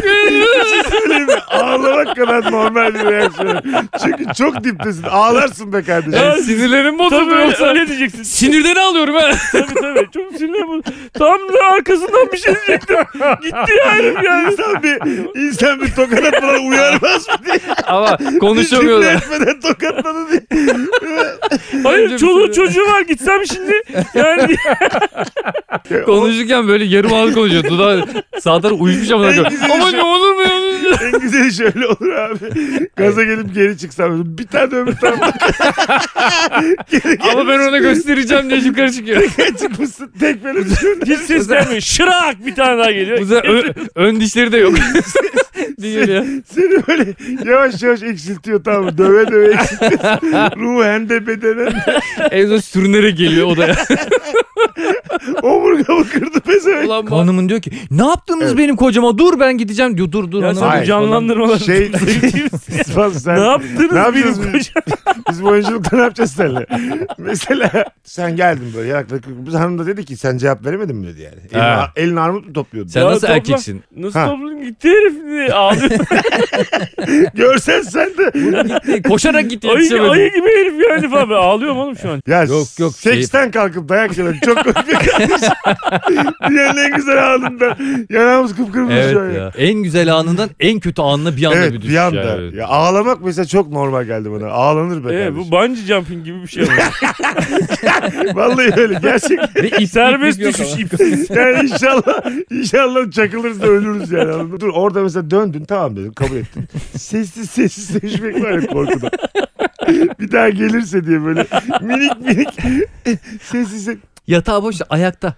[SPEAKER 1] Söyleyeyim mi? Ağlamak kadar normal bir reaksiyon. Çünkü çok diptesin. Ağlarsın be kardeşim.
[SPEAKER 2] Sinirlerim
[SPEAKER 3] tabii öyle, öyle diyeceksin.
[SPEAKER 2] Sinirden ağlıyorum ha.
[SPEAKER 3] tabii tabii. Çok sinirli bu. Tam da arkasından bir şey diyecektim. Gitti ya herif ya.
[SPEAKER 1] İnsan bir, insan bir tokat atmadan uyarmaz mı diye.
[SPEAKER 2] Ama
[SPEAKER 1] Disipline
[SPEAKER 2] konuşamıyorlar.
[SPEAKER 1] etmeden tokatladı diye.
[SPEAKER 3] Hayır
[SPEAKER 2] Önce bir
[SPEAKER 3] çoluğu
[SPEAKER 2] sürü-
[SPEAKER 3] çocuğu var gitsem şimdi. Yani
[SPEAKER 2] Konuşurken böyle yarım ağız konuşuyor. Dudağı sağ taraf uyuşmuş ama.
[SPEAKER 1] En güzeli
[SPEAKER 2] Ama
[SPEAKER 3] şey-
[SPEAKER 1] şu-
[SPEAKER 2] ne olur mu? ya?
[SPEAKER 1] En güzeli şöyle olur abi. Gaza gelip geri çıksam. Bir tane öbür tarafa
[SPEAKER 2] Ama ben ona göstereceğim diye yukarı çıkıyor.
[SPEAKER 1] çıkmışsın. Tek böyle düşün.
[SPEAKER 3] hiç ses gelmiyor. Şırak bir tane daha geliyor.
[SPEAKER 2] Bu sefer ö- ön dişleri de yok. Değil ya.
[SPEAKER 1] Seni böyle yavaş yavaş eksiltiyor tamam mı? Döve döve eksiltiyorsun. Ruhen de bedenen.
[SPEAKER 2] En son sürünerek geliyor odaya.
[SPEAKER 1] Omurgamı kırdı pezevenk.
[SPEAKER 2] Ulan Hanımın diyor ki ne yaptınız
[SPEAKER 1] Evet.
[SPEAKER 2] benim kocama dur ben gideceğim diyor dur dur.
[SPEAKER 3] Ya
[SPEAKER 2] hanım.
[SPEAKER 3] sen
[SPEAKER 1] Hayır,
[SPEAKER 3] bu canlandırmalar.
[SPEAKER 1] şey- Fazla sen.
[SPEAKER 3] ne yaptınız?
[SPEAKER 1] Ne yapıyoruz
[SPEAKER 3] bizim
[SPEAKER 1] biz? Biz bu oyunculukta ne yapacağız seninle? Mesela sen geldin böyle yanakları kırık. Hanım da dedi ki sen cevap veremedin mi dedi yani. Elin,
[SPEAKER 2] Ha.
[SPEAKER 1] elin armut mu topluyordun?
[SPEAKER 2] Sen
[SPEAKER 3] Ya
[SPEAKER 2] nasıl
[SPEAKER 3] topla.
[SPEAKER 2] erkeksin?
[SPEAKER 3] Nasıl
[SPEAKER 1] Ha.
[SPEAKER 3] toplum gitti herif diye ağlıyor.
[SPEAKER 1] Görsen sen de.
[SPEAKER 2] Koşarak gitti
[SPEAKER 3] ayı,
[SPEAKER 2] yetişemedim.
[SPEAKER 3] ayı gibi herif yani falan. Ben ağlıyorum oğlum şu an.
[SPEAKER 1] Ya
[SPEAKER 2] Yok, yok, şey-
[SPEAKER 1] Seksten kalkıp dayak yemek çok komik bir kardeş. Dünyanın en güzel anında. Yanağımız kıpkırmızı
[SPEAKER 2] Evet
[SPEAKER 1] şöyle.
[SPEAKER 2] ya.
[SPEAKER 3] Şey.
[SPEAKER 2] En güzel anından en kötü anına bir anda
[SPEAKER 1] Evet
[SPEAKER 2] bir
[SPEAKER 1] bir,
[SPEAKER 2] düşüş.
[SPEAKER 1] anda.
[SPEAKER 2] yani.
[SPEAKER 1] Ya, ağlamak mesela çok normal geldi bana. Ağlanır be
[SPEAKER 3] Ee,
[SPEAKER 1] kardeşim.
[SPEAKER 3] bu bungee jumping gibi bir şey ama.
[SPEAKER 1] Vallahi öyle gerçekten.
[SPEAKER 2] Ve ip-
[SPEAKER 3] Serbest
[SPEAKER 2] ip yok
[SPEAKER 3] düşüş
[SPEAKER 2] ama.
[SPEAKER 3] ipsiz.
[SPEAKER 1] Yani inşallah inşallah çakılırız da ölürüz yani. anladın mı? Dur orada mesela döndün tamam dedim kabul ettim. Sessiz sessiz sevişmek var ya korkudan. bir daha gelirse diye böyle minik minik sessiz.
[SPEAKER 2] Yatağı boş ayakta.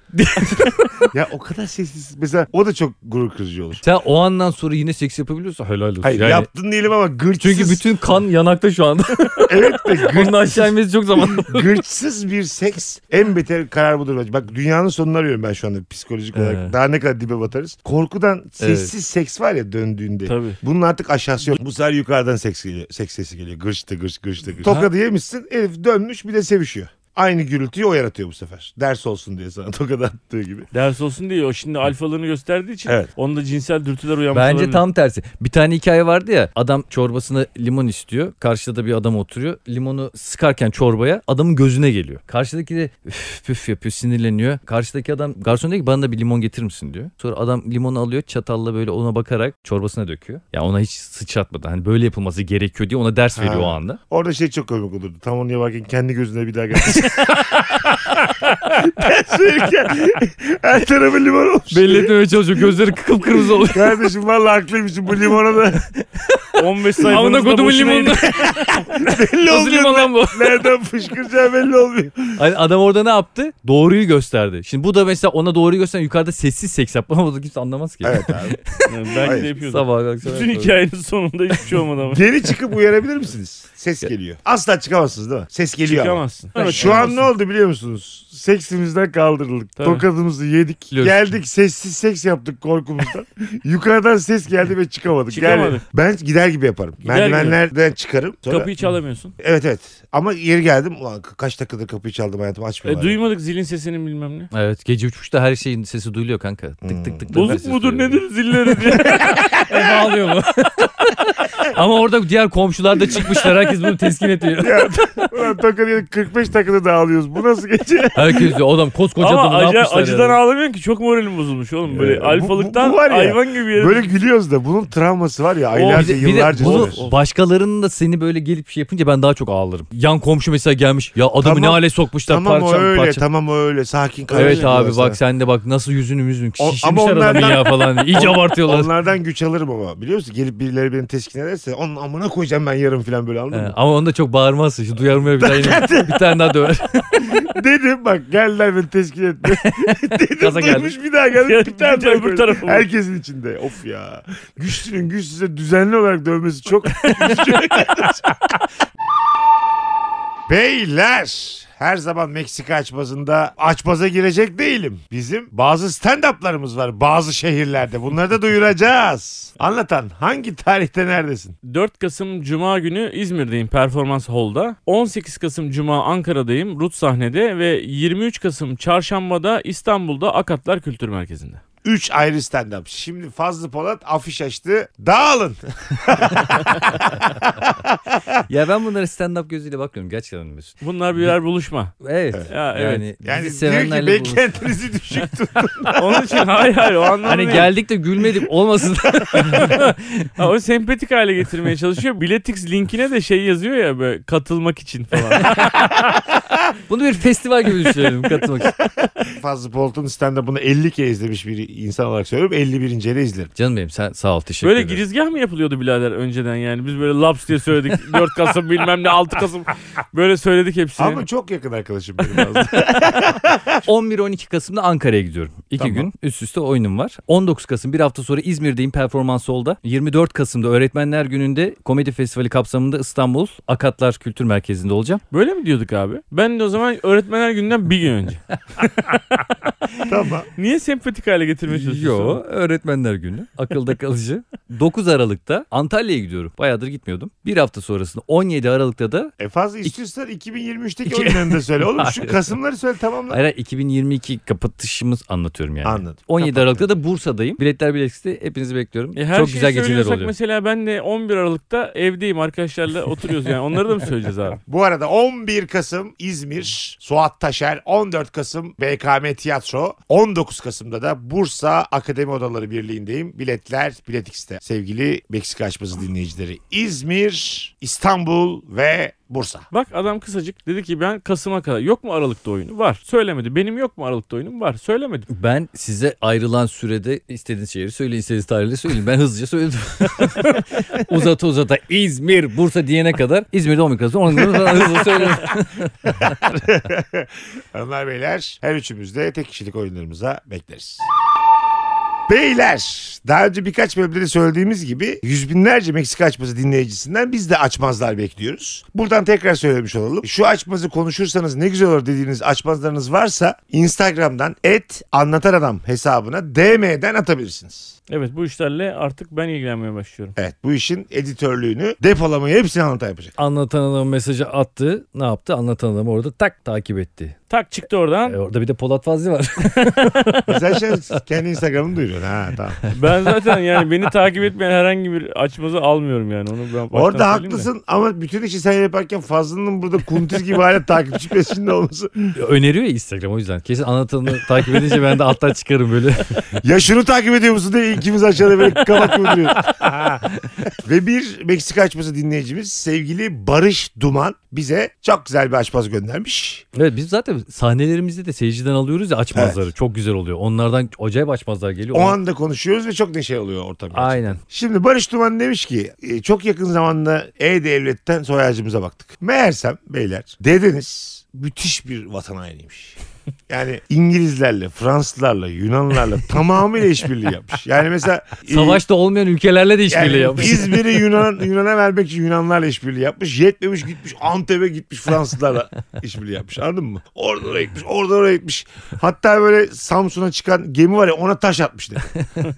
[SPEAKER 1] Ya o kadar sessiz. Mesela o da çok gurur kırıcı olur.
[SPEAKER 2] Sen o andan sonra yine seks yapabiliyorsan helal olsun.
[SPEAKER 1] Hayır
[SPEAKER 2] Yani-
[SPEAKER 1] yaptın diyelim ama gırçsız.
[SPEAKER 2] Çünkü bütün kan yanakta şu anda.
[SPEAKER 1] Evet de gır,
[SPEAKER 2] Onun aşağı inmesi çok zaman.
[SPEAKER 1] gırçsız bir seks en beter karar budur. bence. Bak dünyanın sonunu arıyorum ben şu anda psikolojik olarak.
[SPEAKER 2] Evet.
[SPEAKER 1] Daha ne kadar dibe batarız. Korkudan sessiz seks var ya döndüğünde.
[SPEAKER 3] Tabii.
[SPEAKER 1] Bunun artık aşağısı yok. Bu sefer yukarıdan seks geliyor. Seks sesi geliyor. Gırçtı gırç gırçtı gırç. Tokadı yemişsin. Elif dönmüş bir de sevişiyor. Aynı gürültüyü o yaratıyor bu sefer. Ders olsun diye sana tokadı attığı gibi.
[SPEAKER 3] Ders olsun diye o şimdi alfalarını gösterdiği için
[SPEAKER 1] Evet.
[SPEAKER 3] onda cinsel dürtüler uyanmış
[SPEAKER 2] Bence
[SPEAKER 3] olabilir.
[SPEAKER 2] tam tersi. Bir tane hikaye vardı ya. Adam çorbasına limon istiyor. Karşıda da bir adam oturuyor. Limonu sıkarken çorbaya adamın gözüne geliyor. Karşıdaki de üf püf yapıyor sinirleniyor. Karşıdaki adam garson diyor ki bana da bir limon getirir misin diyor. Sonra adam limonu alıyor çatalla böyle ona bakarak çorbasına döküyor. Ya ona hiç sıçratmadan hani böyle yapılması gerekiyor diye ona ders
[SPEAKER 1] Ha.
[SPEAKER 2] veriyor o anda.
[SPEAKER 1] Orada şey çok komik olurdu. Tam onu yaparken kendi gözüne bir daha gelmiş. Ders verirken her tarafı limon olmuş.
[SPEAKER 2] Belli etmemeye çalışıyor. Gözleri kıpkırmızı oluyor.
[SPEAKER 1] Kardeşim valla haklıymışım bu limona da
[SPEAKER 3] 15
[SPEAKER 2] Amına
[SPEAKER 3] sayfanızda
[SPEAKER 2] kodumun
[SPEAKER 3] boşuna
[SPEAKER 2] limonunu.
[SPEAKER 3] yedik.
[SPEAKER 1] belli
[SPEAKER 2] Nasıl
[SPEAKER 1] olmuyor.
[SPEAKER 2] limon lan bu?
[SPEAKER 1] Nereden fışkıracağı belli olmuyor.
[SPEAKER 2] Hani adam orada ne yaptı? Doğruyu gösterdi. Şimdi bu da mesela ona doğruyu gösteren yukarıda sessiz seks yapma. O da kimse anlamaz ki.
[SPEAKER 1] Evet abi.
[SPEAKER 3] Yani belki
[SPEAKER 1] Hayır.
[SPEAKER 3] de yapıyordu.
[SPEAKER 2] Sabah akşam.
[SPEAKER 3] Bütün hikayenin sonunda hiçbir şey olmadı ama.
[SPEAKER 1] Geri çıkıp uyarabilir misiniz? Ses geliyor. Asla çıkamazsınız değil mi? Ses geliyor ama.
[SPEAKER 3] Çıkamazsın.
[SPEAKER 1] Şu an ne oldu biliyor musunuz? Seksimizden kaldırıldık.
[SPEAKER 3] Tabii.
[SPEAKER 1] Tokadımızı yedik.
[SPEAKER 2] Biliyoruz.
[SPEAKER 1] Geldik sessiz seks yaptık korkumuzdan. Yukarıdan ses geldi ve çıkamadık.
[SPEAKER 3] Çıkamadık.
[SPEAKER 1] Yani ben gider gibi yaparım.
[SPEAKER 3] Gider
[SPEAKER 1] Merdivenlerden çıkarım. Sonra-
[SPEAKER 3] Kapıyı çalamıyorsun.
[SPEAKER 1] Evet evet. Ama yeri geldim. Ulan kaç dakikadır kapıyı çaldım hayatım
[SPEAKER 3] E,
[SPEAKER 1] açmıyorlar.
[SPEAKER 3] duymadık zilin sesini bilmem ne.
[SPEAKER 2] Evet gece 3.30'da her şeyin sesi duyuluyor kanka. Tık
[SPEAKER 1] Hmm.
[SPEAKER 2] tık tık. tık
[SPEAKER 3] Bozuk
[SPEAKER 2] ses
[SPEAKER 3] mudur
[SPEAKER 2] duyuluyor.
[SPEAKER 3] nedir zilleri diye.
[SPEAKER 2] E, Bağlıyor mu? Ama orada diğer komşular da çıkmışlar. Herkes bunu teskin ediyor.
[SPEAKER 1] Ya, ulan tokadı yedik, 45 dakikada dağılıyoruz. Bu nasıl gece?
[SPEAKER 2] Herkes diyor adam koskoca
[SPEAKER 3] Ama
[SPEAKER 2] adamı ne
[SPEAKER 3] acı,
[SPEAKER 2] yapmışlar
[SPEAKER 3] acıdan
[SPEAKER 2] yani?
[SPEAKER 3] ağlamıyorsun ki çok moralim bozulmuş oğlum. Böyle
[SPEAKER 1] Ee, bu- bu-
[SPEAKER 3] alfalıktan
[SPEAKER 1] bu var ya,
[SPEAKER 3] hayvan gibi yere.
[SPEAKER 1] Böyle gülüyoruz da bunun travması var ya
[SPEAKER 2] bir
[SPEAKER 1] aylarca
[SPEAKER 2] de, bir de
[SPEAKER 1] yıllarca
[SPEAKER 2] bunu
[SPEAKER 1] sürer.
[SPEAKER 2] başkalarının da seni böyle gelip şey yapınca ben daha çok ağlarım. Yan komşu mesela gelmiş. Ya adamı
[SPEAKER 1] Tamam.
[SPEAKER 2] ne hale sokmuşlar
[SPEAKER 1] Tamam
[SPEAKER 2] parça
[SPEAKER 1] o öyle
[SPEAKER 2] parça.
[SPEAKER 1] tamam o öyle sakin kardeşim.
[SPEAKER 2] Evet abi
[SPEAKER 1] diyorlar
[SPEAKER 2] bak sen de bak nasıl yüzünü müzünü
[SPEAKER 1] O- ama
[SPEAKER 2] şişirmişler adamın
[SPEAKER 1] onlardan-
[SPEAKER 2] ya falan. diye. İyice abartıyorlar.
[SPEAKER 1] sana. Onlardan güç alırım ama biliyor musun? Gelip birileri beni teskin ederse onun amına koyacağım ben yarın falan böyle anladın
[SPEAKER 2] He,
[SPEAKER 1] mı?
[SPEAKER 2] ama onu da çok bağırmazsın. Şu duyarmıyor bir daha yine. bir tane daha döver.
[SPEAKER 1] Dedim bak geldiler beni teskin etti. Dedim
[SPEAKER 2] Gaza geldi.
[SPEAKER 1] duymuş bir daha geldi. Bir
[SPEAKER 3] Bir
[SPEAKER 1] tane
[SPEAKER 3] de
[SPEAKER 1] daha
[SPEAKER 3] öbür
[SPEAKER 1] koydu.
[SPEAKER 3] tarafa vurdu.
[SPEAKER 1] Herkesin içinde. Of ya. Güçlünün güçsüze düzenli olarak dövmesi çok üzücü. Beyler Her zaman Meksika açmazında açmaza girecek değilim. Bizim bazı stand-up'larımız var bazı şehirlerde. Bunları da duyuracağız. Anlatan hangi tarihte neredesin?
[SPEAKER 3] 4 Kasım Cuma günü İzmir'deyim Performans Hall'da. 18 Kasım Cuma Ankara'dayım Rut sahnede ve 23 Kasım Çarşamba'da İstanbul'da Akatlar Kültür Merkezi'nde.
[SPEAKER 1] 3 ayrı stand-up. Şimdi Fazlı Polat afiş açtı. Dağılın.
[SPEAKER 2] ya ben bunlara stand-up gözüyle bakmıyorum gerçekten Mesut.
[SPEAKER 3] Bunlar birer buluşma.
[SPEAKER 2] Evet.
[SPEAKER 3] Ya, evet.
[SPEAKER 2] Yani,
[SPEAKER 1] Yani
[SPEAKER 2] bizi
[SPEAKER 1] diyor ki
[SPEAKER 2] sevenlerle
[SPEAKER 1] ben
[SPEAKER 2] buluştuk.
[SPEAKER 1] kendinizi düşük tutun.
[SPEAKER 3] Onun için hayır hayır o anlamda
[SPEAKER 2] Hani
[SPEAKER 3] değil.
[SPEAKER 2] geldik de gülmedik olmasın.
[SPEAKER 3] Ha, o sempatik hale getirmeye çalışıyor. Biletix linkine de şey yazıyor ya böyle katılmak için falan.
[SPEAKER 2] Bunu bir festival gibi düşünelim katılmak için.
[SPEAKER 1] Fazlı Polat'ın stand-up'ını 50 kere izlemiş bir insan olarak söylüyorum. 51. kere izlerim.
[SPEAKER 2] Canım benim sen sağ ol teşekkür
[SPEAKER 3] böyle
[SPEAKER 2] ederim.
[SPEAKER 3] girizgah mı yapılıyordu birader önceden yani? Biz böyle laps diye söyledik. 4 Kasım bilmem ne 6 Kasım böyle söyledik hepsini.
[SPEAKER 1] Ama çok yakın arkadaşım benim Fazlı.
[SPEAKER 2] 11-12 Kasım'da Ankara'ya gidiyorum. İki
[SPEAKER 1] Tamam.
[SPEAKER 2] gün üst üste oyunum var. 19 Kasım bir hafta sonra İzmir'deyim performans oldu. 24 Kasım'da Öğretmenler Günü'nde komedi festivali kapsamında İstanbul Akatlar Kültür Merkezi'nde olacağım.
[SPEAKER 3] Böyle mi diyorduk abi? Ben de o zaman öğretmenler günden bir gün önce.
[SPEAKER 1] tamam.
[SPEAKER 3] Niye sempatik hale getirmeye çalışıyorsun?
[SPEAKER 2] Yo Öğretmenler Günü akılda kalıcı. 9 Aralık'ta Antalya'ya gidiyorum. Bayağıdır gitmiyordum. Bir hafta sonrasında 17 Aralık'ta da
[SPEAKER 1] E fazla istiyorsan 2023'teki oyunlarını da söyle. Oğlum şu Kasımları söyle tamamla.
[SPEAKER 2] hayır, hayır, 2022 kapatışımız anlatıyorum yani.
[SPEAKER 1] Anladım.
[SPEAKER 2] 17 Aralık'ta da Bursa'dayım. Biletler Bilex'te hepinizi bekliyorum.
[SPEAKER 3] E her
[SPEAKER 2] Çok
[SPEAKER 3] şeyi
[SPEAKER 2] güzel geceler
[SPEAKER 3] söylüyorsak
[SPEAKER 2] oluyor.
[SPEAKER 3] Mesela ben de 11 Aralık'ta evdeyim arkadaşlarla oturuyoruz yani. Onları da mı söyleyeceğiz abi?
[SPEAKER 1] Bu arada 11 Kasım İzmir, Suat Taşer, 14 Kasım BKM Tiyatro, 19 Kasım'da da Bursa Akademi Odaları Birliği'ndeyim. Biletler Biletix'te. Sevgili Meksika açması dinleyicileri. İzmir, İstanbul ve Bursa.
[SPEAKER 3] Bak adam kısacık dedi ki ben Kasım'a kadar yok mu Aralık'ta oyunu? Var. Söylemedi. Benim yok mu Aralık'ta oyunum? Var. Söylemedim.
[SPEAKER 2] Ben size ayrılan sürede istediğiniz şehri söyleyin, istediğiniz tarihleri söyleyin. Ben hızlıca söyledim. uzata uzata İzmir, Bursa diyene kadar İzmir'de 11 Kasım, 10 Kasım falan hızlı söyledim.
[SPEAKER 1] Hanımlar beyler her üçümüz de tek kişilik oyunlarımıza bekleriz. Beyler daha önce birkaç bölümde de söylediğimiz gibi yüz binlerce Meksika açması dinleyicisinden biz de açmazlar bekliyoruz. Buradan tekrar söylemiş olalım. Şu açmazı konuşursanız ne güzel olur dediğiniz açmazlarınız varsa Instagram'dan et anlatan adam hesabına DM'den atabilirsiniz.
[SPEAKER 3] Evet bu işlerle artık ben ilgilenmeye başlıyorum.
[SPEAKER 1] Evet bu işin editörlüğünü depolamayı hepsini anlatan yapacak.
[SPEAKER 2] Anlatan adam mesajı attı. Ne yaptı? Anlatan adam orada tak takip etti.
[SPEAKER 3] Tak çıktı oradan.
[SPEAKER 2] E, orada bir de Polat Fazlı var.
[SPEAKER 1] Mesela şey, kendi Instagram'ını duyuruyorsun ha tamam.
[SPEAKER 3] Ben zaten yani beni takip etmeyen herhangi bir açmazı almıyorum yani. Onu ben baştan
[SPEAKER 1] Orada
[SPEAKER 3] söyleyeyim de.
[SPEAKER 1] haklısın ama bütün işi sen yaparken Fazlı'nın burada kuntiz gibi hala takipçi peşinde olması.
[SPEAKER 2] Öneriyor ya Instagram o yüzden. Kesin anlatanı takip edince ben de alttan çıkarım böyle.
[SPEAKER 1] Ya şunu takip ediyor musun diye ikimiz aşağıda böyle kabak gibi duruyoruz. Ve bir Meksika açması dinleyicimiz sevgili Barış Duman bize çok güzel bir açmaz göndermiş.
[SPEAKER 2] Evet biz zaten sahnelerimizde de seyirciden alıyoruz ya açmazları. Çok güzel oluyor. Onlardan acayip açmazlar geliyor.
[SPEAKER 1] O anda konuşuyoruz ve çok neşe oluyor ortam. gerçekten.
[SPEAKER 2] Aynen.
[SPEAKER 1] Şimdi Barış Duman demiş ki e, çok yakın zamanda E-Devlet'ten soy ağacımıza baktık. Meğersem beyler dedeniz müthiş bir vatan hainiymiş. Yani İngilizlerle, Fransızlarla, Yunanlarla tamamıyla işbirliği yapmış. Yani mesela e,
[SPEAKER 2] Savaşta olmayan ülkelerle de işbirliği
[SPEAKER 1] yani
[SPEAKER 2] yapmış.
[SPEAKER 1] İzmir'i Yunan, Yunan'a vermek için Yunanlarla işbirliği yapmış. Yetmemiş gitmiş Antep'e gitmiş Fransızlarla işbirliği yapmış. Anladın mı? Orada oraya gitmiş, orada oraya gitmiş. Hatta böyle Samsun'a çıkan gemi var ya ona taş atmış dedi.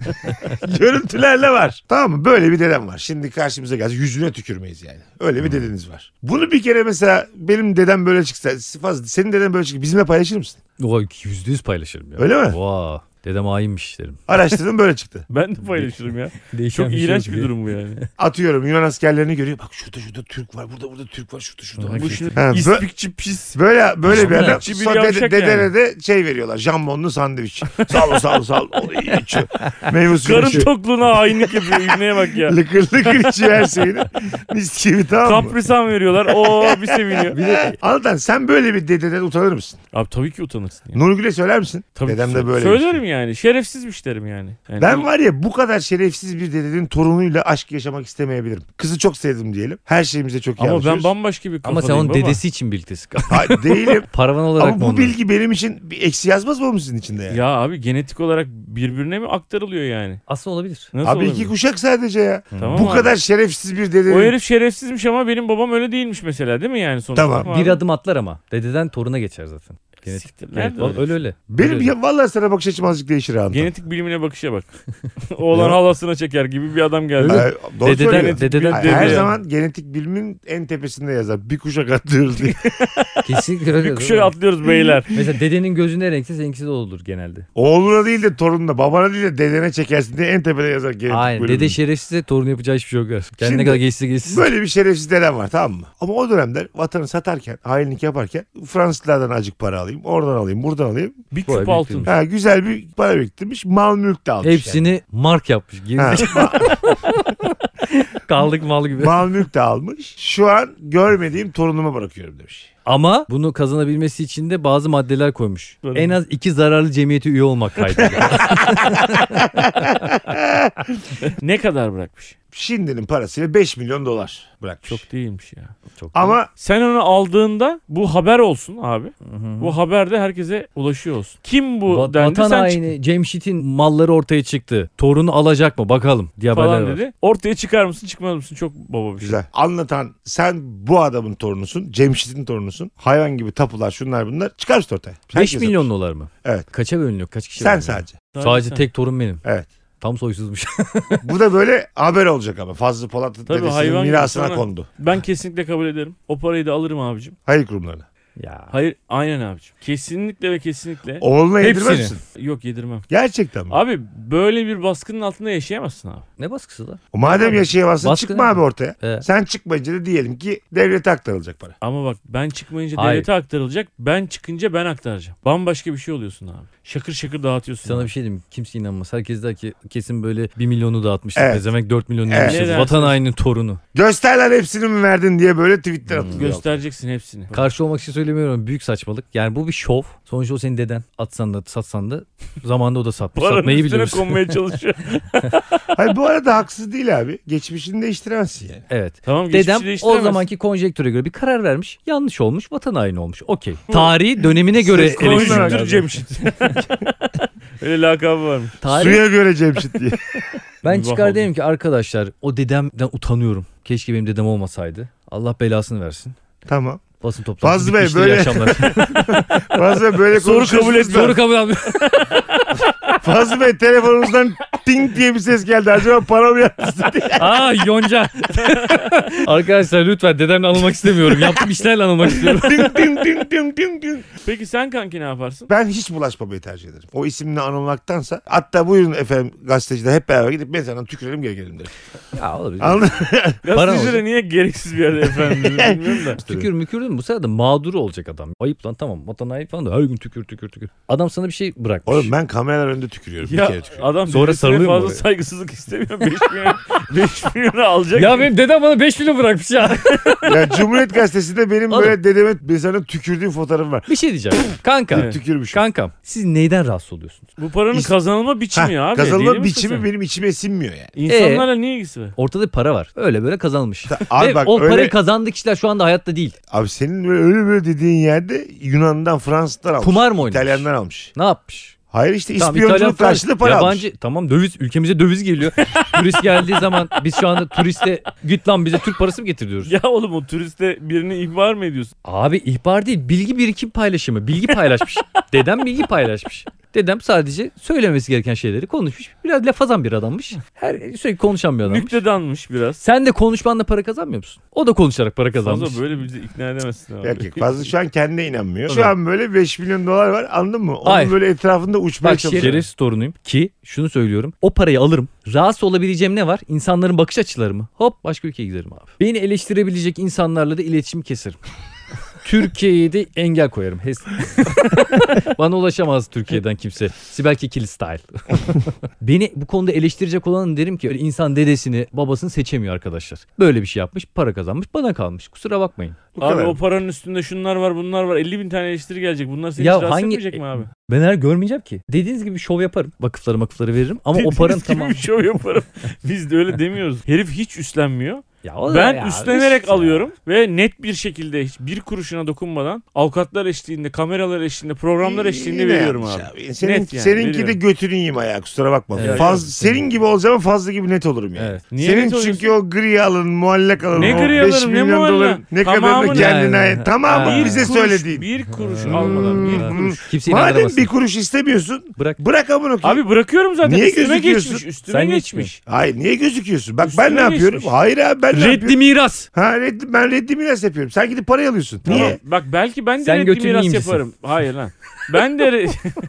[SPEAKER 1] Görüntülerle var. Tamam mı? Böyle bir dedem var. Şimdi karşımıza gelse yüzüne tükürmeyiz yani. Öyle bir dedeniz var. Bunu bir kere mesela benim dedem böyle çıksa, fazla senin deden böyle çıksa bizimle paylaşır mısın?
[SPEAKER 2] Oha yüzde yüz paylaşırım ya.
[SPEAKER 1] Öyle mi?
[SPEAKER 2] Vaa. Dedem hainmiş derim.
[SPEAKER 1] Araştırdım böyle çıktı.
[SPEAKER 3] Ben de paylaşırım ya.
[SPEAKER 2] Değişen
[SPEAKER 3] Çok iğrenç bir şey durum bu yani.
[SPEAKER 1] Atıyorum Yunan askerlerini görüyor. Bak şurada şurada Türk var. Burada burada Türk var. Şurada şurada. var.
[SPEAKER 3] Bu
[SPEAKER 2] şey
[SPEAKER 3] işin
[SPEAKER 1] Ha, bö-
[SPEAKER 3] ispikçi pis.
[SPEAKER 1] Böyle böyle bir adam.
[SPEAKER 3] Çivi
[SPEAKER 1] Sonra dede,
[SPEAKER 3] yavşak
[SPEAKER 1] dedene
[SPEAKER 3] yani.
[SPEAKER 1] de şey veriyorlar. Jambonlu sandviç. Sağ ol sağ ol sağ ol. Onu iyi içiyor. Meyve suyu
[SPEAKER 3] Karın
[SPEAKER 1] içiyor.
[SPEAKER 3] tokluğuna hainlik yapıyor. İbneye bak ya.
[SPEAKER 1] Lıkır lıkır içiyor her şeyini. Mis gibi tamam mı?
[SPEAKER 3] Kaprisan veriyorlar. Oo bir seviniyor.
[SPEAKER 1] Altan sen böyle bir dededen utanır mısın?
[SPEAKER 3] Abi tabii ki utanırsın. ya.
[SPEAKER 1] Nurgül'e söyler misin?
[SPEAKER 3] Tabii ki
[SPEAKER 1] Dedem de
[SPEAKER 3] sö-
[SPEAKER 1] böyle.
[SPEAKER 3] Söylerim
[SPEAKER 1] bir şey.
[SPEAKER 3] yani. Şerefsiz müşterim yani. yani
[SPEAKER 1] Ben var ya bu kadar şerefsiz bir dedenin torunuyla aşk yaşamak istemeyebilirim. Kızı çok sevdim diyelim. Her şeyimize çok iyi
[SPEAKER 3] Ama ben
[SPEAKER 1] anlaşıyoruz.
[SPEAKER 3] bambaşka bir
[SPEAKER 2] Ama
[SPEAKER 3] kafadayım
[SPEAKER 2] sen onun
[SPEAKER 3] baba.
[SPEAKER 2] dedesi için birliktesi kal.
[SPEAKER 1] Hayır, değilim.
[SPEAKER 2] Paravan olarak
[SPEAKER 1] Ama
[SPEAKER 2] mı
[SPEAKER 1] bu
[SPEAKER 2] onu?
[SPEAKER 1] bilgi benim için bir eksi yazmaz mı oğlum sizin içinde yani?
[SPEAKER 3] Ya abi genetik olarak birbirine mi aktarılıyor yani?
[SPEAKER 2] Aslında olabilir.
[SPEAKER 3] Nasıl
[SPEAKER 1] Abi iki
[SPEAKER 3] olabilir?
[SPEAKER 1] kuşak sadece ya.
[SPEAKER 3] Tamam
[SPEAKER 1] bu
[SPEAKER 3] abi.
[SPEAKER 1] kadar şerefsiz bir
[SPEAKER 3] O
[SPEAKER 1] dedenin.
[SPEAKER 3] herif şerefsizmiş ama benim babam öyle değilmiş mesela değil mi yani sonuçta?
[SPEAKER 1] Tamam.
[SPEAKER 3] Abi,
[SPEAKER 2] Bir adım atlar ama. Dededen toruna geçer zaten. Genetik.
[SPEAKER 3] siktir,
[SPEAKER 2] Evet,
[SPEAKER 3] Nerede
[SPEAKER 2] öyle
[SPEAKER 3] öyle?
[SPEAKER 2] öyle. öyle.
[SPEAKER 1] Benim
[SPEAKER 2] öyle.
[SPEAKER 1] ya, vallahi sana bakış açım azıcık değişir ha. Anton.
[SPEAKER 3] Genetik bilimine bakışa bak. Oğlan halasına çeker gibi bir adam geldi.
[SPEAKER 1] Ay, doğru
[SPEAKER 2] Dededen-
[SPEAKER 1] söylüyorsun.
[SPEAKER 2] dededen-
[SPEAKER 1] Ay, her
[SPEAKER 3] dededen.
[SPEAKER 1] zaman genetik bilimin en tepesinde yazar. Bir kuşak atlıyoruz diye.
[SPEAKER 2] Kesinlikle öyle.
[SPEAKER 3] bir kuşa atlıyoruz beyler.
[SPEAKER 2] Mesela dedenin gözü ne renkse seninkisi de olur genelde.
[SPEAKER 1] Oğluna değil de torununa, babana değil de dedene çekersin diye en tepede yazar genetik
[SPEAKER 2] Aynen.
[SPEAKER 1] bölümünü.
[SPEAKER 2] Dede şerefsize torun yapacağı hiçbir şey yok. Kendine
[SPEAKER 1] Şimdi-
[SPEAKER 2] kadar geçse geçsin.
[SPEAKER 1] Böyle bir şerefsiz denen var tamam mı? Ama o dönemler vatanı satarken, hainlik yaparken Fransızlardan acık para alayım. Oradan alayım, buradan alayım.
[SPEAKER 3] Bir
[SPEAKER 2] Vay,
[SPEAKER 3] küp
[SPEAKER 2] büyük
[SPEAKER 3] altın.
[SPEAKER 2] değilmiş.
[SPEAKER 1] Ha, güzel bir para biriktirmiş. Mal mülk de almış.
[SPEAKER 2] Hepsini mark yapmış. Geri
[SPEAKER 1] yani. Ha,
[SPEAKER 2] kaldık mal gibi.
[SPEAKER 1] mal mülk de almış. Şu an görmediğim torunuma bırakıyorum demiş.
[SPEAKER 2] Ama bunu kazanabilmesi için de bazı maddeler koymuş.
[SPEAKER 3] Tabii.
[SPEAKER 2] En az iki zararlı cemiyete üye olmak kaydı.
[SPEAKER 3] Ne kadar bırakmış?
[SPEAKER 1] Şimdinin parasıyla 5 milyon dolar bırakmış.
[SPEAKER 3] Çok değilmiş ya.
[SPEAKER 2] Çok
[SPEAKER 1] Ama
[SPEAKER 3] Sen onu aldığında bu haber olsun abi. Bu haber de herkese ulaşıyor olsun. Kim bu
[SPEAKER 2] Va-
[SPEAKER 3] dendi
[SPEAKER 2] Vatan
[SPEAKER 3] sen
[SPEAKER 2] haini Cemşit'in malları ortaya çıktı. Torunu alacak mı bakalım diye
[SPEAKER 3] çık- falan
[SPEAKER 2] haberler var.
[SPEAKER 3] dedi. Ortaya çıkar mısın çıkmaz mısın? Çok baba bir şey.
[SPEAKER 1] güzel. Anlatan sen bu adamın torunusun. Cemşit'in torunusun. Hayvan gibi tapular şunlar bunlar. Çıkar işte ortaya.
[SPEAKER 2] 5
[SPEAKER 1] Herkes
[SPEAKER 2] milyon
[SPEAKER 1] yapmış.
[SPEAKER 2] dolar mı?
[SPEAKER 1] Evet.
[SPEAKER 2] Kaça bölünüyor? Kaç kişi
[SPEAKER 1] Sen
[SPEAKER 2] var?
[SPEAKER 1] sadece.
[SPEAKER 2] Sadece tek torun benim.
[SPEAKER 1] Evet.
[SPEAKER 2] Tam soysuzmuş.
[SPEAKER 1] Bu da böyle haber olacak ama. Fazlı Polat'ın
[SPEAKER 3] Tabii
[SPEAKER 1] dedesinin
[SPEAKER 3] hayvan gibi
[SPEAKER 1] mirasına
[SPEAKER 3] sana-
[SPEAKER 1] kondu.
[SPEAKER 3] Ben kesinlikle kabul ederim. O parayı da alırım abicim.
[SPEAKER 1] Hayır kurumlarına.
[SPEAKER 2] ya.
[SPEAKER 3] Hayır aynen abicim. Kesinlikle ve kesinlikle.
[SPEAKER 1] Oğluna
[SPEAKER 2] E, Hepsini.
[SPEAKER 1] yedirmez misin?
[SPEAKER 3] Yok yedirmem.
[SPEAKER 1] Gerçekten mi?
[SPEAKER 3] Abi böyle bir baskının altında yaşayamazsın abi.
[SPEAKER 2] Ne baskısı la?
[SPEAKER 1] O Madem yaşayamazsın
[SPEAKER 2] Baskı
[SPEAKER 1] çıkma
[SPEAKER 2] ne?
[SPEAKER 1] abi ortaya.
[SPEAKER 2] Ee.
[SPEAKER 1] Sen çıkmayınca da diyelim ki devlete aktarılacak para.
[SPEAKER 3] Ama bak ben çıkmayınca
[SPEAKER 2] Hayır.
[SPEAKER 3] devlete aktarılacak. Ben çıkınca ben aktaracağım. Bambaşka bir şey oluyorsun abi. Şakır şakır dağıtıyorsun.
[SPEAKER 2] Sana
[SPEAKER 3] abi.
[SPEAKER 2] bir şey diyeyim. Kimse inanmaz. Herkes der ki kesin böyle 1 milyonu dağıtmıştır.
[SPEAKER 1] Evet.
[SPEAKER 2] Evet. Demek 4 milyonu
[SPEAKER 1] Evet.
[SPEAKER 2] yemiştir.
[SPEAKER 3] Ne dersin?
[SPEAKER 2] Vatan hainin torunu.
[SPEAKER 1] Göster lan hepsini mi verdin diye böyle tweetler
[SPEAKER 2] Hmm,
[SPEAKER 1] atılıyor.
[SPEAKER 3] Göstereceksin hepsini.
[SPEAKER 2] Karşı olmak için söylemiyorum. Büyük saçmalık. Yani bu bir şov. Sonuçta o senin deden. Atsan da satsan da zamanında o da satmış. Satmayı biliyoruz.
[SPEAKER 3] konmaya çalışıyor.
[SPEAKER 1] Hayır bu arada haksız değil abi. Geçmişini değiştiremezsin yani.
[SPEAKER 2] evet.
[SPEAKER 3] tamam
[SPEAKER 2] Dedem
[SPEAKER 3] geçmişi
[SPEAKER 2] o
[SPEAKER 3] değiştiremez.
[SPEAKER 2] zamanki konjektüre göre bir karar vermiş. Yanlış olmuş. Vatan haini olmuş. Okey. Tarihi dönemine göre
[SPEAKER 1] Söz konusu
[SPEAKER 2] eleştirmek
[SPEAKER 1] olarak-
[SPEAKER 3] Konjüktür
[SPEAKER 2] lazım.
[SPEAKER 3] Cemşit. Öyle lakabı varmış.
[SPEAKER 2] Tarih-
[SPEAKER 1] Suya göre Cemşit diye.
[SPEAKER 2] Ben
[SPEAKER 3] Vah
[SPEAKER 2] çıkar
[SPEAKER 3] oldu.
[SPEAKER 2] derim ki arkadaşlar o dedemden utanıyorum. Keşke benim dedem olmasaydı. Allah belasını versin.
[SPEAKER 1] tamam.
[SPEAKER 2] Basın toplantısı
[SPEAKER 1] Fazlı Bey,
[SPEAKER 2] bitmiştir, iyi
[SPEAKER 1] böyle-
[SPEAKER 2] akşamlar.
[SPEAKER 1] Fazlı Bey böyle
[SPEAKER 3] Soru kabul
[SPEAKER 1] konuşuyorsunuz da-
[SPEAKER 2] Soru kabul almıyor.
[SPEAKER 1] Fazlı Bey telefonunuzdan ting diye bir ses geldi. Acaba para mı yattı size diye.
[SPEAKER 2] Aa yonca. arkadaşlar lütfen dedemle anılmak istemiyorum. Yaptığım işlerle anılmak istiyorum.
[SPEAKER 1] Ting ting ting ting ting ting.
[SPEAKER 3] Peki sen kanki ne yaparsın?
[SPEAKER 1] Ben hiç bulaşmamayı tercih ederim. O isimle anılmaktansa. Hatta buyurun efendim gazeteciler hep beraber gidip mezarına tükürelim geri gelelim derim.
[SPEAKER 2] ya olabilir.
[SPEAKER 1] Anladın?
[SPEAKER 3] Gazetecilere niye gereksiz bir yerde efendim dedim, bilmiyorum da.
[SPEAKER 2] Tükür mükür değil mi? Bu sefer de mağduru olacak adam. Ayıp lan tamam. Vatan haini falan da her gün tükür tükür tükür. Adam sana bir şey bırakmış.
[SPEAKER 1] Oğlum ben kameralar önünde tükürüyorum. bir kere
[SPEAKER 3] Ya
[SPEAKER 1] tükürüyorum.
[SPEAKER 3] adam
[SPEAKER 2] Sonra
[SPEAKER 3] Sonra
[SPEAKER 2] sarılıyor mu
[SPEAKER 3] fazla
[SPEAKER 2] oraya?
[SPEAKER 3] saygısızlık istemiyor. 5 milyon, 5 milyonu alacak.
[SPEAKER 2] Ya benim dedem bana 5 milyon bırakmış ya.
[SPEAKER 1] Ya Cumhuriyet Gazetesi'nde benim
[SPEAKER 2] Oğlum.
[SPEAKER 1] böyle dedeme mezarına tükürdüğüm fotoğrafım var.
[SPEAKER 2] bir şey diyeceğim. Kanka.
[SPEAKER 3] Evet.
[SPEAKER 1] Tükürmüşüm.
[SPEAKER 2] Kankam siz neyden rahatsız oluyorsunuz?
[SPEAKER 3] Bu paranın
[SPEAKER 1] İşte-
[SPEAKER 3] kazanılma biçimi
[SPEAKER 1] Heh,
[SPEAKER 3] abi.
[SPEAKER 1] Kazanma
[SPEAKER 3] Deli misin
[SPEAKER 1] biçimi
[SPEAKER 3] sen?
[SPEAKER 1] benim içime sinmiyor yani.
[SPEAKER 3] İnsanlarla niye ilgisi var?
[SPEAKER 2] Ortada bir para var. Öyle böyle kazanılmış.
[SPEAKER 1] Abi
[SPEAKER 2] Ve
[SPEAKER 1] bak
[SPEAKER 2] o
[SPEAKER 1] öyle,
[SPEAKER 2] parayı kazandığı kişiler şu anda hayatta değil.
[SPEAKER 1] abi senin böyle öyle böyle dediğin yerde Yunan'dan Fransız'dan almış.
[SPEAKER 2] Kumar mı oynamış?
[SPEAKER 1] İtalyan'dan almış.
[SPEAKER 2] Ne yapmış?
[SPEAKER 1] Hayır işte
[SPEAKER 2] Tamam,
[SPEAKER 1] ispiyonculuk
[SPEAKER 2] İtalyan, Fransız,
[SPEAKER 1] karşılığı para almış.
[SPEAKER 2] Yabancı tamam döviz ülkemize döviz geliyor. turist geldiği zaman biz şu anda turiste git lan bize Türk parası mı getir diyoruz.
[SPEAKER 3] Ya oğlum o turiste birini ihbar mı ediyorsun?
[SPEAKER 2] Abi ihbar değil bilgi birikim paylaşımı. Bilgi paylaşmış. Dedem bilgi paylaşmış. Dedem sadece söylemesi gereken şeyleri konuşmuş. Biraz lafazan bir adammış. Her sürekli konuşan bir adammış.
[SPEAKER 3] Nüktedanmış biraz.
[SPEAKER 2] Sen de konuşmanla para kazanmıyor musun? O da konuşarak para kazanmış.
[SPEAKER 3] Fazla böyle bizi ikna edemezsin abi.
[SPEAKER 1] Yok yok fazla şey şu an kendine inanmıyor. Şu
[SPEAKER 2] Tabii.
[SPEAKER 1] an böyle 5 milyon dolar var anladın mı? Onun
[SPEAKER 2] Hayır.
[SPEAKER 1] böyle etrafında uçmaya
[SPEAKER 3] şey
[SPEAKER 2] Bak
[SPEAKER 1] çalışıyor.
[SPEAKER 2] şerefsiz torunuyum ki şunu söylüyorum. O parayı alırım. Rahatsız olabileceğim ne var? İnsanların bakış açıları mı? Hop başka ülkeye giderim abi. Beni eleştirebilecek insanlarla da iletişim keserim. Türkiye'ye de engel koyarım. Hes- Bana ulaşamaz Türkiye'den kimse. Sibel Kekili style. Beni bu konuda eleştirecek olanın derim ki öyle insan dedesini babasını seçemiyor arkadaşlar. Böyle bir şey yapmış para kazanmış bana kalmış kusura bakmayın.
[SPEAKER 1] Bu
[SPEAKER 3] Abi
[SPEAKER 1] kadar.
[SPEAKER 3] o paranın üstünde şunlar var bunlar var 50 bin tane eleştiri gelecek. Bunlar seni
[SPEAKER 2] Ya
[SPEAKER 3] hiç rahatsız
[SPEAKER 2] hangi-
[SPEAKER 3] etmeyecek mi abi?
[SPEAKER 2] Ben her görmeyeceğim ki. Dediğiniz gibi şov yaparım. Vakıfları makıfları veririm ama o
[SPEAKER 3] Dediğiniz
[SPEAKER 2] paranın
[SPEAKER 3] gibi
[SPEAKER 2] tamam.
[SPEAKER 3] bir şey şov yaparım. Biz de öyle demiyoruz. Herif hiç üstlenmiyor.
[SPEAKER 2] Ya o da
[SPEAKER 3] ben
[SPEAKER 2] ya,
[SPEAKER 3] üstlenerek
[SPEAKER 2] üst ya.
[SPEAKER 3] alıyorum ve net bir şekilde hiçbir kuruşuna dokunmadan avukatlar eşliğinde, kameralar eşliğinde, programlar eşliğinde
[SPEAKER 1] Yine
[SPEAKER 3] veriyorum
[SPEAKER 1] yanlış
[SPEAKER 3] abi.
[SPEAKER 1] Senin,
[SPEAKER 3] Net yani,
[SPEAKER 1] seninki de
[SPEAKER 3] veriyorum.
[SPEAKER 1] götünün yiyeyim ayağı kusura bakma.
[SPEAKER 2] Evet.
[SPEAKER 1] Faz, senin gibi olacağım fazla gibi net olurum yani.
[SPEAKER 2] Evet.
[SPEAKER 3] Niye net
[SPEAKER 1] Senin
[SPEAKER 3] oluyorsun?
[SPEAKER 1] çünkü o gri alın, muallak alın,
[SPEAKER 3] Ne
[SPEAKER 1] o
[SPEAKER 3] gri
[SPEAKER 1] 5
[SPEAKER 3] alınım, ne
[SPEAKER 1] milyon
[SPEAKER 3] muallak?
[SPEAKER 1] dolar ne kadar da
[SPEAKER 3] Tamamını
[SPEAKER 1] kendine
[SPEAKER 2] yani.
[SPEAKER 1] ait. Tamamı
[SPEAKER 2] Ha.
[SPEAKER 1] bize
[SPEAKER 3] kuruş,
[SPEAKER 1] söylediğin.
[SPEAKER 3] Bir kuruş
[SPEAKER 2] Hmm.
[SPEAKER 3] almadan bir
[SPEAKER 2] Ha.
[SPEAKER 3] kuruş.
[SPEAKER 2] Kimse
[SPEAKER 1] Madem
[SPEAKER 2] inandıramazsın.
[SPEAKER 1] bir kuruş istemiyorsun
[SPEAKER 2] Bırak.
[SPEAKER 1] bırak amına koyayım.
[SPEAKER 3] Abi bırakıyorum zaten
[SPEAKER 1] Niye
[SPEAKER 3] üstüme
[SPEAKER 1] gözüküyorsun?
[SPEAKER 3] geçmiş üstüme
[SPEAKER 2] Sen
[SPEAKER 3] geçmiş.
[SPEAKER 1] Hayır niye gözüküyorsun? Bak ben
[SPEAKER 3] Üstüne
[SPEAKER 1] ne yapıyorum?
[SPEAKER 3] geçmiş.
[SPEAKER 1] Hayır abi ben ne
[SPEAKER 2] Reddi
[SPEAKER 1] yapıyorum?
[SPEAKER 2] miras.
[SPEAKER 1] Ha, reddi, ben reddi miras yapıyorum. Sen gidip parayı alıyorsun.
[SPEAKER 3] Tamam.
[SPEAKER 1] Niye?
[SPEAKER 3] Bak belki ben de
[SPEAKER 2] Sen
[SPEAKER 3] reddi
[SPEAKER 2] götünü
[SPEAKER 3] miras
[SPEAKER 2] yiyeyim misin?
[SPEAKER 3] yaparım. Hayır lan. Ben de re-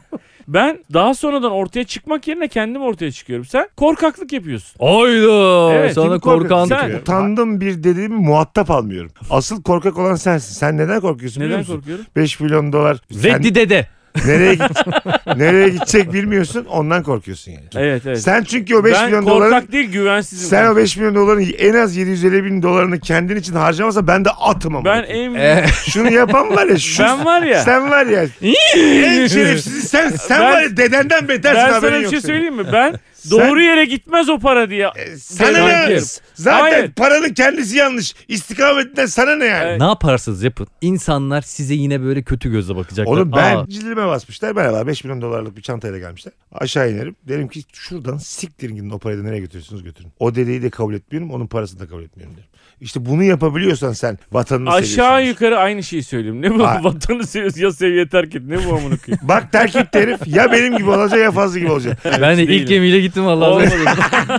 [SPEAKER 3] ben daha sonradan ortaya çıkmak yerine kendim ortaya çıkıyorum. Sen korkaklık yapıyorsun.
[SPEAKER 2] Oydu.
[SPEAKER 3] Evet,
[SPEAKER 2] Sana
[SPEAKER 1] Kim
[SPEAKER 2] korkan.
[SPEAKER 1] korkuyor? Sen- Utandım bir dediğimi muhatap almıyorum. Asıl korkak olan sensin. Sen neden korkuyorsun biliyor
[SPEAKER 3] Neden
[SPEAKER 1] musun?
[SPEAKER 3] korkuyorum?
[SPEAKER 1] 5 milyon dolar. Sen
[SPEAKER 2] Reddi dede.
[SPEAKER 1] nereye git, nereye gidecek bilmiyorsun. Ondan korkuyorsun yani.
[SPEAKER 3] Evet evet.
[SPEAKER 1] Sen çünkü o 5
[SPEAKER 3] ben
[SPEAKER 1] milyon
[SPEAKER 3] korkak
[SPEAKER 1] doların
[SPEAKER 3] değil güvensizim.
[SPEAKER 1] sen o 5 milyon doların en az 750 bin dolarını kendin için harcamasa ben de atım ama.
[SPEAKER 3] ben en
[SPEAKER 2] Eh,
[SPEAKER 1] Şunu yapan var ya. Şu,
[SPEAKER 3] ben var ya.
[SPEAKER 1] Sen var ya. en şerefsizi sen. Sen
[SPEAKER 3] Ben-
[SPEAKER 1] var ya dedenden betersin
[SPEAKER 3] ben
[SPEAKER 1] haberin
[SPEAKER 3] sana bir
[SPEAKER 1] yok
[SPEAKER 3] şey
[SPEAKER 1] senin.
[SPEAKER 3] söyleyeyim mi? Ben
[SPEAKER 1] Sen- E,
[SPEAKER 3] doğru yere gitmez o para diye.
[SPEAKER 1] Sana
[SPEAKER 3] Ben-
[SPEAKER 1] ne? Zaten
[SPEAKER 3] Hayır.
[SPEAKER 1] paranın kendisi yanlış. İstikametinden sana ne yani?
[SPEAKER 3] Evet.
[SPEAKER 2] ne yaparsanız yapın. İnsanlar size yine böyle kötü gözle bakacaklar.
[SPEAKER 1] Oğlum ben
[SPEAKER 2] Aa,
[SPEAKER 1] cildime basmışlar. Merhaba 5 milyon dolarlık bir çantayla gelmişler. Aşağı inerim. Derim ki şuradan siktirin gidin o parayı da nereye götürürsünüz götürün. O dedeyi de kabul etmiyorum. Onun parasını da kabul etmiyorum derim. İşte bunu yapabiliyorsan sen vatanını
[SPEAKER 3] Aşağı
[SPEAKER 1] seviyorsun.
[SPEAKER 3] yukarı aynı şeyi söylüyorum. Ne bu
[SPEAKER 1] Ay-
[SPEAKER 3] vatanı seviyorsun ya seviye terk et. Ne bu amına koyayım?
[SPEAKER 1] Bak terk etti herif ya benim gibi olacak ya fazla gibi olacak.
[SPEAKER 2] ben de
[SPEAKER 3] değilim.
[SPEAKER 2] ilk gemiyle gittim vallahi.
[SPEAKER 3] Olmadı.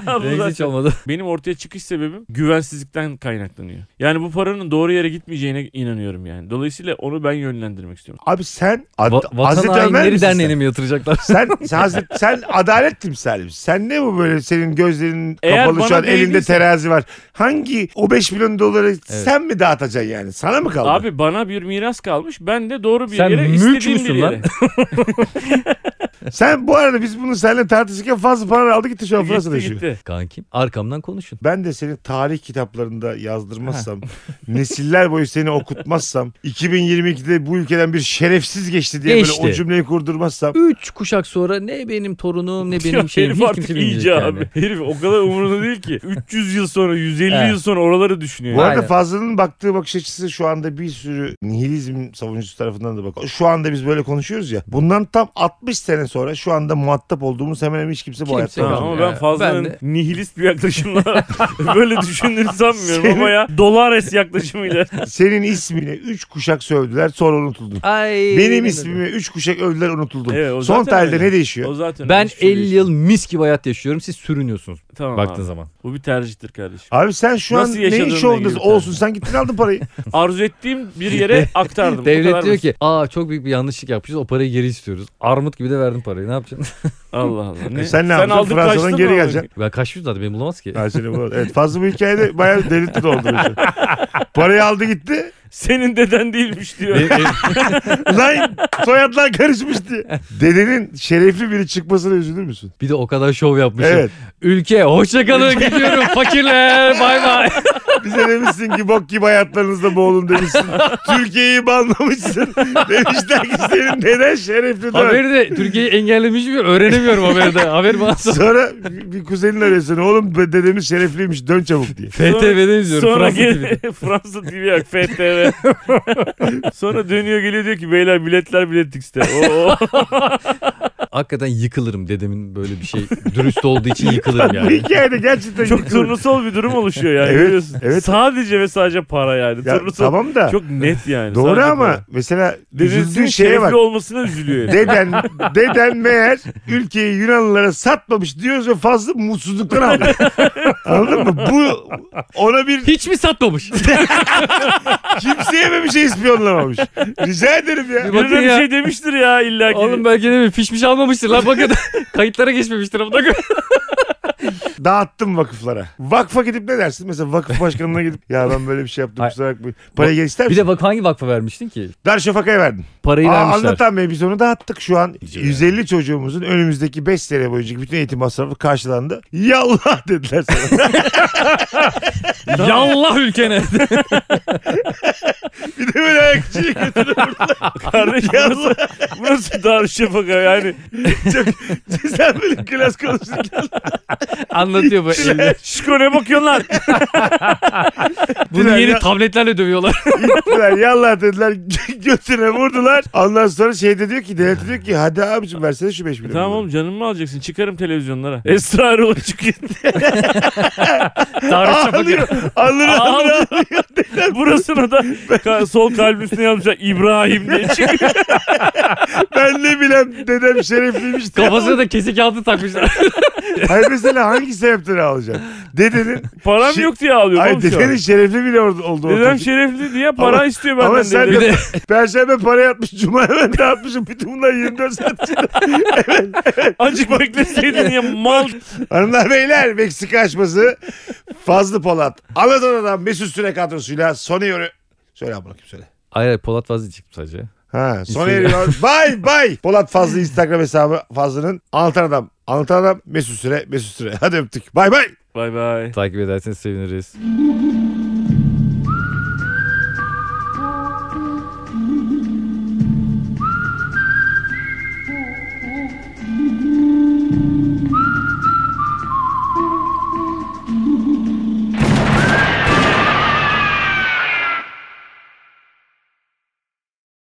[SPEAKER 2] Renksiz hiç olmadı.
[SPEAKER 3] Benim ortaya çıkış sebebim güvensizlikten kaynaklanıyor. Yani bu paranın doğru yere gitmeyeceğine inanıyorum yani. Dolayısıyla onu ben yönlendirmek istiyorum.
[SPEAKER 1] Abi sen ad-
[SPEAKER 2] Va- Vatan
[SPEAKER 1] Hazreti Ömer
[SPEAKER 2] hainleri
[SPEAKER 1] misin
[SPEAKER 2] derneğine
[SPEAKER 1] sen?
[SPEAKER 2] mi yatıracaklar?
[SPEAKER 1] Sen, sen, Hazreti- sen adalet timsali misin? Sen ne bu böyle senin gözlerin
[SPEAKER 3] Eğer
[SPEAKER 1] kapalı şu
[SPEAKER 3] bana
[SPEAKER 1] an elinde
[SPEAKER 3] değdiyse-
[SPEAKER 1] terazi var. Hangi o 5 milyon doları sen mi dağıtacaksın yani? Sana mı kaldı?
[SPEAKER 3] Abi bana bir miras kalmış. Ben de doğru bir
[SPEAKER 2] Sen
[SPEAKER 3] yere
[SPEAKER 2] mülk
[SPEAKER 3] istediğim bir
[SPEAKER 2] müsün
[SPEAKER 3] yere.
[SPEAKER 2] lan?
[SPEAKER 1] Sen bu arada biz bunu seninle tartışırken fazla para aldı gitti şu an Fransa'da
[SPEAKER 3] gitti
[SPEAKER 1] yaşıyor.
[SPEAKER 3] gitti.
[SPEAKER 2] Kankim arkamdan konuşun.
[SPEAKER 1] Ben de seni tarih kitaplarında yazdırmazsam, nesiller boyu seni okutmazsam, 2022'de bu ülkeden bir şerefsiz geçti diye
[SPEAKER 2] Geçti.
[SPEAKER 1] böyle o cümleyi kurdurmazsam.
[SPEAKER 2] Üç kuşak sonra ne benim torunum ne
[SPEAKER 3] Ya
[SPEAKER 2] benim şeyim
[SPEAKER 3] herif
[SPEAKER 2] hiç
[SPEAKER 3] artık
[SPEAKER 2] kimse
[SPEAKER 3] iyice
[SPEAKER 2] bilmeyecek yani.
[SPEAKER 3] abi. Herif o kadar umurunda değil ki. 300 yıl sonra 150
[SPEAKER 2] Evet.
[SPEAKER 3] yıl sonra oraları düşünüyor.
[SPEAKER 1] Bu
[SPEAKER 3] Yani.
[SPEAKER 1] arada
[SPEAKER 2] Aynen.
[SPEAKER 1] Fazlı'nın baktığı bakış açısı şu anda bir sürü nihilizm savunucusu tarafından da bak. Şu anda biz böyle konuşuyoruz ya. Bundan tam 60 sene sonra şu anda muhatap olduğumuz hemen hemen hiç kimse bu hayatta
[SPEAKER 2] Kimse yok.
[SPEAKER 3] Ha,
[SPEAKER 1] kalmadı.
[SPEAKER 3] ama
[SPEAKER 2] Ya,
[SPEAKER 3] ben fazla
[SPEAKER 2] ben de-
[SPEAKER 3] nihilist bir yaklaşımla böyle düşündüğünü sanmıyorum ama ya Dolares yaklaşımıyla.
[SPEAKER 1] Senin ismini 3 kuşak sövdüler sonra unutuldun.
[SPEAKER 2] Ay,
[SPEAKER 1] Benim
[SPEAKER 2] ne
[SPEAKER 1] ismimi 3 kuşak övdüler unutuldum.
[SPEAKER 3] Evet, o
[SPEAKER 1] Son
[SPEAKER 3] zaten
[SPEAKER 1] tarihte
[SPEAKER 3] öyle.
[SPEAKER 1] ne değişiyor?
[SPEAKER 3] O zaten
[SPEAKER 2] demek. Ben
[SPEAKER 3] hiçbir şey
[SPEAKER 2] 50 yıl mis gibi hayat yaşıyorum siz sürünüyorsunuz
[SPEAKER 3] değil. tamam
[SPEAKER 2] baktığın
[SPEAKER 3] abi.
[SPEAKER 2] zaman.
[SPEAKER 3] Bu bir tercihtir kardeşim.
[SPEAKER 1] Abi sen şu
[SPEAKER 3] Nasıl
[SPEAKER 1] an neyin
[SPEAKER 3] yaşadığınla
[SPEAKER 1] şovundasın?
[SPEAKER 3] ilgili bir
[SPEAKER 1] Olsun sen gittin aldın parayı.
[SPEAKER 3] Arzu ettiğim bir yere aktardım. Bu kadar
[SPEAKER 2] Devlet diyor
[SPEAKER 3] basit.
[SPEAKER 2] ki aa çok büyük bir yanlışlık yapmışız o parayı geri istiyoruz. Armut gibi de verdim parayı ne yapacaksın?
[SPEAKER 3] Allah Allah.
[SPEAKER 1] E sen ne yapacaksın?
[SPEAKER 3] aldın
[SPEAKER 1] Fransa'dan
[SPEAKER 3] kaçtın
[SPEAKER 1] geri
[SPEAKER 3] mı?
[SPEAKER 1] geleceksin.
[SPEAKER 2] ben kaçmış zaten beni bulamaz ki.
[SPEAKER 1] Ben seni bu- evet fazla bu hikayede bayağı delirtli oldu. parayı aldı gitti.
[SPEAKER 3] Senin deden değilmiş diyor.
[SPEAKER 2] Benim- benim-
[SPEAKER 1] Lan soyadlar karışmış diye. Dedenin şerefli biri çıkmasına üzülür müsün?
[SPEAKER 2] bir de o kadar şov
[SPEAKER 3] şey-
[SPEAKER 2] yapmışım.
[SPEAKER 1] Evet.
[SPEAKER 2] Ülke hoşçakalın gidiyorum fakirler bay bay.
[SPEAKER 1] Bize demişsin ki bok gibi hayatlarınızda boğulun demişsin. Türkiye'yi banlamışsın. Demişler ki senin deden şerefli dön.
[SPEAKER 2] Haberi de Türkiye'yi engellemiş mi öğrenemiyorum haberi de. Haber bana sor-
[SPEAKER 1] Sonra bir kuzenin arıyorsun. Oğlum be- dedemiz şerefliymiş dön çabuk diye.
[SPEAKER 2] FTV'den izliyorum.
[SPEAKER 3] Sonra
[SPEAKER 2] Fransa
[SPEAKER 3] gel
[SPEAKER 2] TV'de.
[SPEAKER 3] Fransa TV yok FTV. Sonra dönüyor geliyor diyor ki beyler biletler biletix'te. Oo.
[SPEAKER 2] Hakikaten yıkılırım dedemin böyle bir şey dürüst olduğu için yıkılırım
[SPEAKER 1] Bu
[SPEAKER 2] yani.
[SPEAKER 1] hikayede gerçekten
[SPEAKER 3] Çok
[SPEAKER 1] yıkılır.
[SPEAKER 3] turnusol bir durum oluşuyor yani.
[SPEAKER 1] Evet,
[SPEAKER 3] Biliyorsun.
[SPEAKER 1] evet.
[SPEAKER 3] Sadece ve sadece para yani.
[SPEAKER 1] Ya,
[SPEAKER 3] turnusol
[SPEAKER 1] tamam da.
[SPEAKER 3] çok net yani.
[SPEAKER 1] Doğru
[SPEAKER 3] Sadece
[SPEAKER 1] ama
[SPEAKER 3] para.
[SPEAKER 1] mesela
[SPEAKER 3] Dedesinin
[SPEAKER 1] üzüldüğün şeye
[SPEAKER 3] şerefli
[SPEAKER 1] bak.
[SPEAKER 3] olmasına üzülüyor. herif.
[SPEAKER 1] Deden, deden meğer ülkeyi Yunanlılara satmamış diyoruz ve fazla mutsuzluktan aldı. Anladın mı? Bu ona bir
[SPEAKER 2] Hiç mi satmamış?
[SPEAKER 1] kimseye mi bir şey ispiyonlamamış? Rica ederim ya.
[SPEAKER 2] Bakın
[SPEAKER 3] Birine bir
[SPEAKER 2] ya.
[SPEAKER 3] şey demiştir ya illa ki.
[SPEAKER 2] Oğlum belki de bir fişmiş almamıştır lan bakın. Kayıtlara geçmemiştir. ama.
[SPEAKER 1] Dağıttım vakıflara. Vakfa gidip ne dersin? Mesela vakıf başkanına gidip ya ben böyle bir şey yaptım
[SPEAKER 2] Ay-
[SPEAKER 1] kusura bakmayın. Parayı gel ister
[SPEAKER 2] Bir
[SPEAKER 1] misin?
[SPEAKER 2] de bak hangi vakfa vermiştin ki?
[SPEAKER 1] Darüşşafaka'ya verdin.
[SPEAKER 2] Parayı
[SPEAKER 1] Aa,
[SPEAKER 2] vermişler.
[SPEAKER 1] anlatan Bey biz onu dağıttık şu an.
[SPEAKER 4] İyice
[SPEAKER 1] 150 çocuğumuzun önümüzdeki 5 sene boyunca bütün eğitim masrafı karşılandı. Yallah dediler sana.
[SPEAKER 2] Yallah ülkene.
[SPEAKER 1] bir de böyle ayakçıyı götürüp
[SPEAKER 3] Kardeşim burası,
[SPEAKER 1] yallah.
[SPEAKER 3] burası Darüşşafaka yani.
[SPEAKER 1] Sen böyle klas konuşurken
[SPEAKER 2] Anlatıyor bu elini.
[SPEAKER 3] Şiko ne bakıyorsun lan?
[SPEAKER 2] Bunu yeni
[SPEAKER 1] ya-
[SPEAKER 2] tabletlerle dövüyorlar.
[SPEAKER 1] gittiler. Yallah dediler. Götüne vurdular. Ondan sonra şey de diyor ki devlet diyor ki hadi abicim versene şu 5 milyon.
[SPEAKER 3] tamam oğlum canımı mı alacaksın? Çıkarım televizyonlara. Esra Erol çıkıyor.
[SPEAKER 1] Ağlıyor. Alır alır.
[SPEAKER 3] Ağlıyor. Burasına da ka- sol kalp üstüne yazmışlar İbrahim diye çıkıyor.
[SPEAKER 1] Ben ne bileyim dedem şerefliymiş. diye.
[SPEAKER 2] Kafasına da kesik altı takmışlar.
[SPEAKER 1] Hayır mesela hangi sebepten ağlayacaksın? Dedenin,
[SPEAKER 3] Param
[SPEAKER 1] Şi-
[SPEAKER 3] yok diye ağlıyor.
[SPEAKER 1] ay
[SPEAKER 3] oğlum şu an.
[SPEAKER 1] dedenin şerefli bile oldu. oldu o
[SPEAKER 3] Dedem
[SPEAKER 1] çocuk.
[SPEAKER 3] şerefli diye para
[SPEAKER 1] Ama-
[SPEAKER 3] istiyor benden.
[SPEAKER 1] Ama sen
[SPEAKER 3] dedi.
[SPEAKER 1] de perşembe para yatmış, cuma ben de atmışım. Bütün bunlar 24 saat içinde.
[SPEAKER 3] Azıcık bekleseydin ya mal.
[SPEAKER 1] Hanımlar beyler Meksika açması Fazlı Polat. Anadolu'dan Mesut Süre kadrosuyla sona yarı... Söyle abla kim söyle.
[SPEAKER 2] Hayır hayır, Polat Fazlı çıktı sadece.
[SPEAKER 1] Ha, sona
[SPEAKER 2] İnstagram.
[SPEAKER 1] yarıyor. Bay bay. Polat Fazlı Instagram hesabı Fazlı'nın Anlatan Adam. Anlatan Adam Mesut Süre Mesut Süre. Hadi öptük. Bay bay.
[SPEAKER 3] Bay bay.
[SPEAKER 2] Takip ederseniz seviniriz.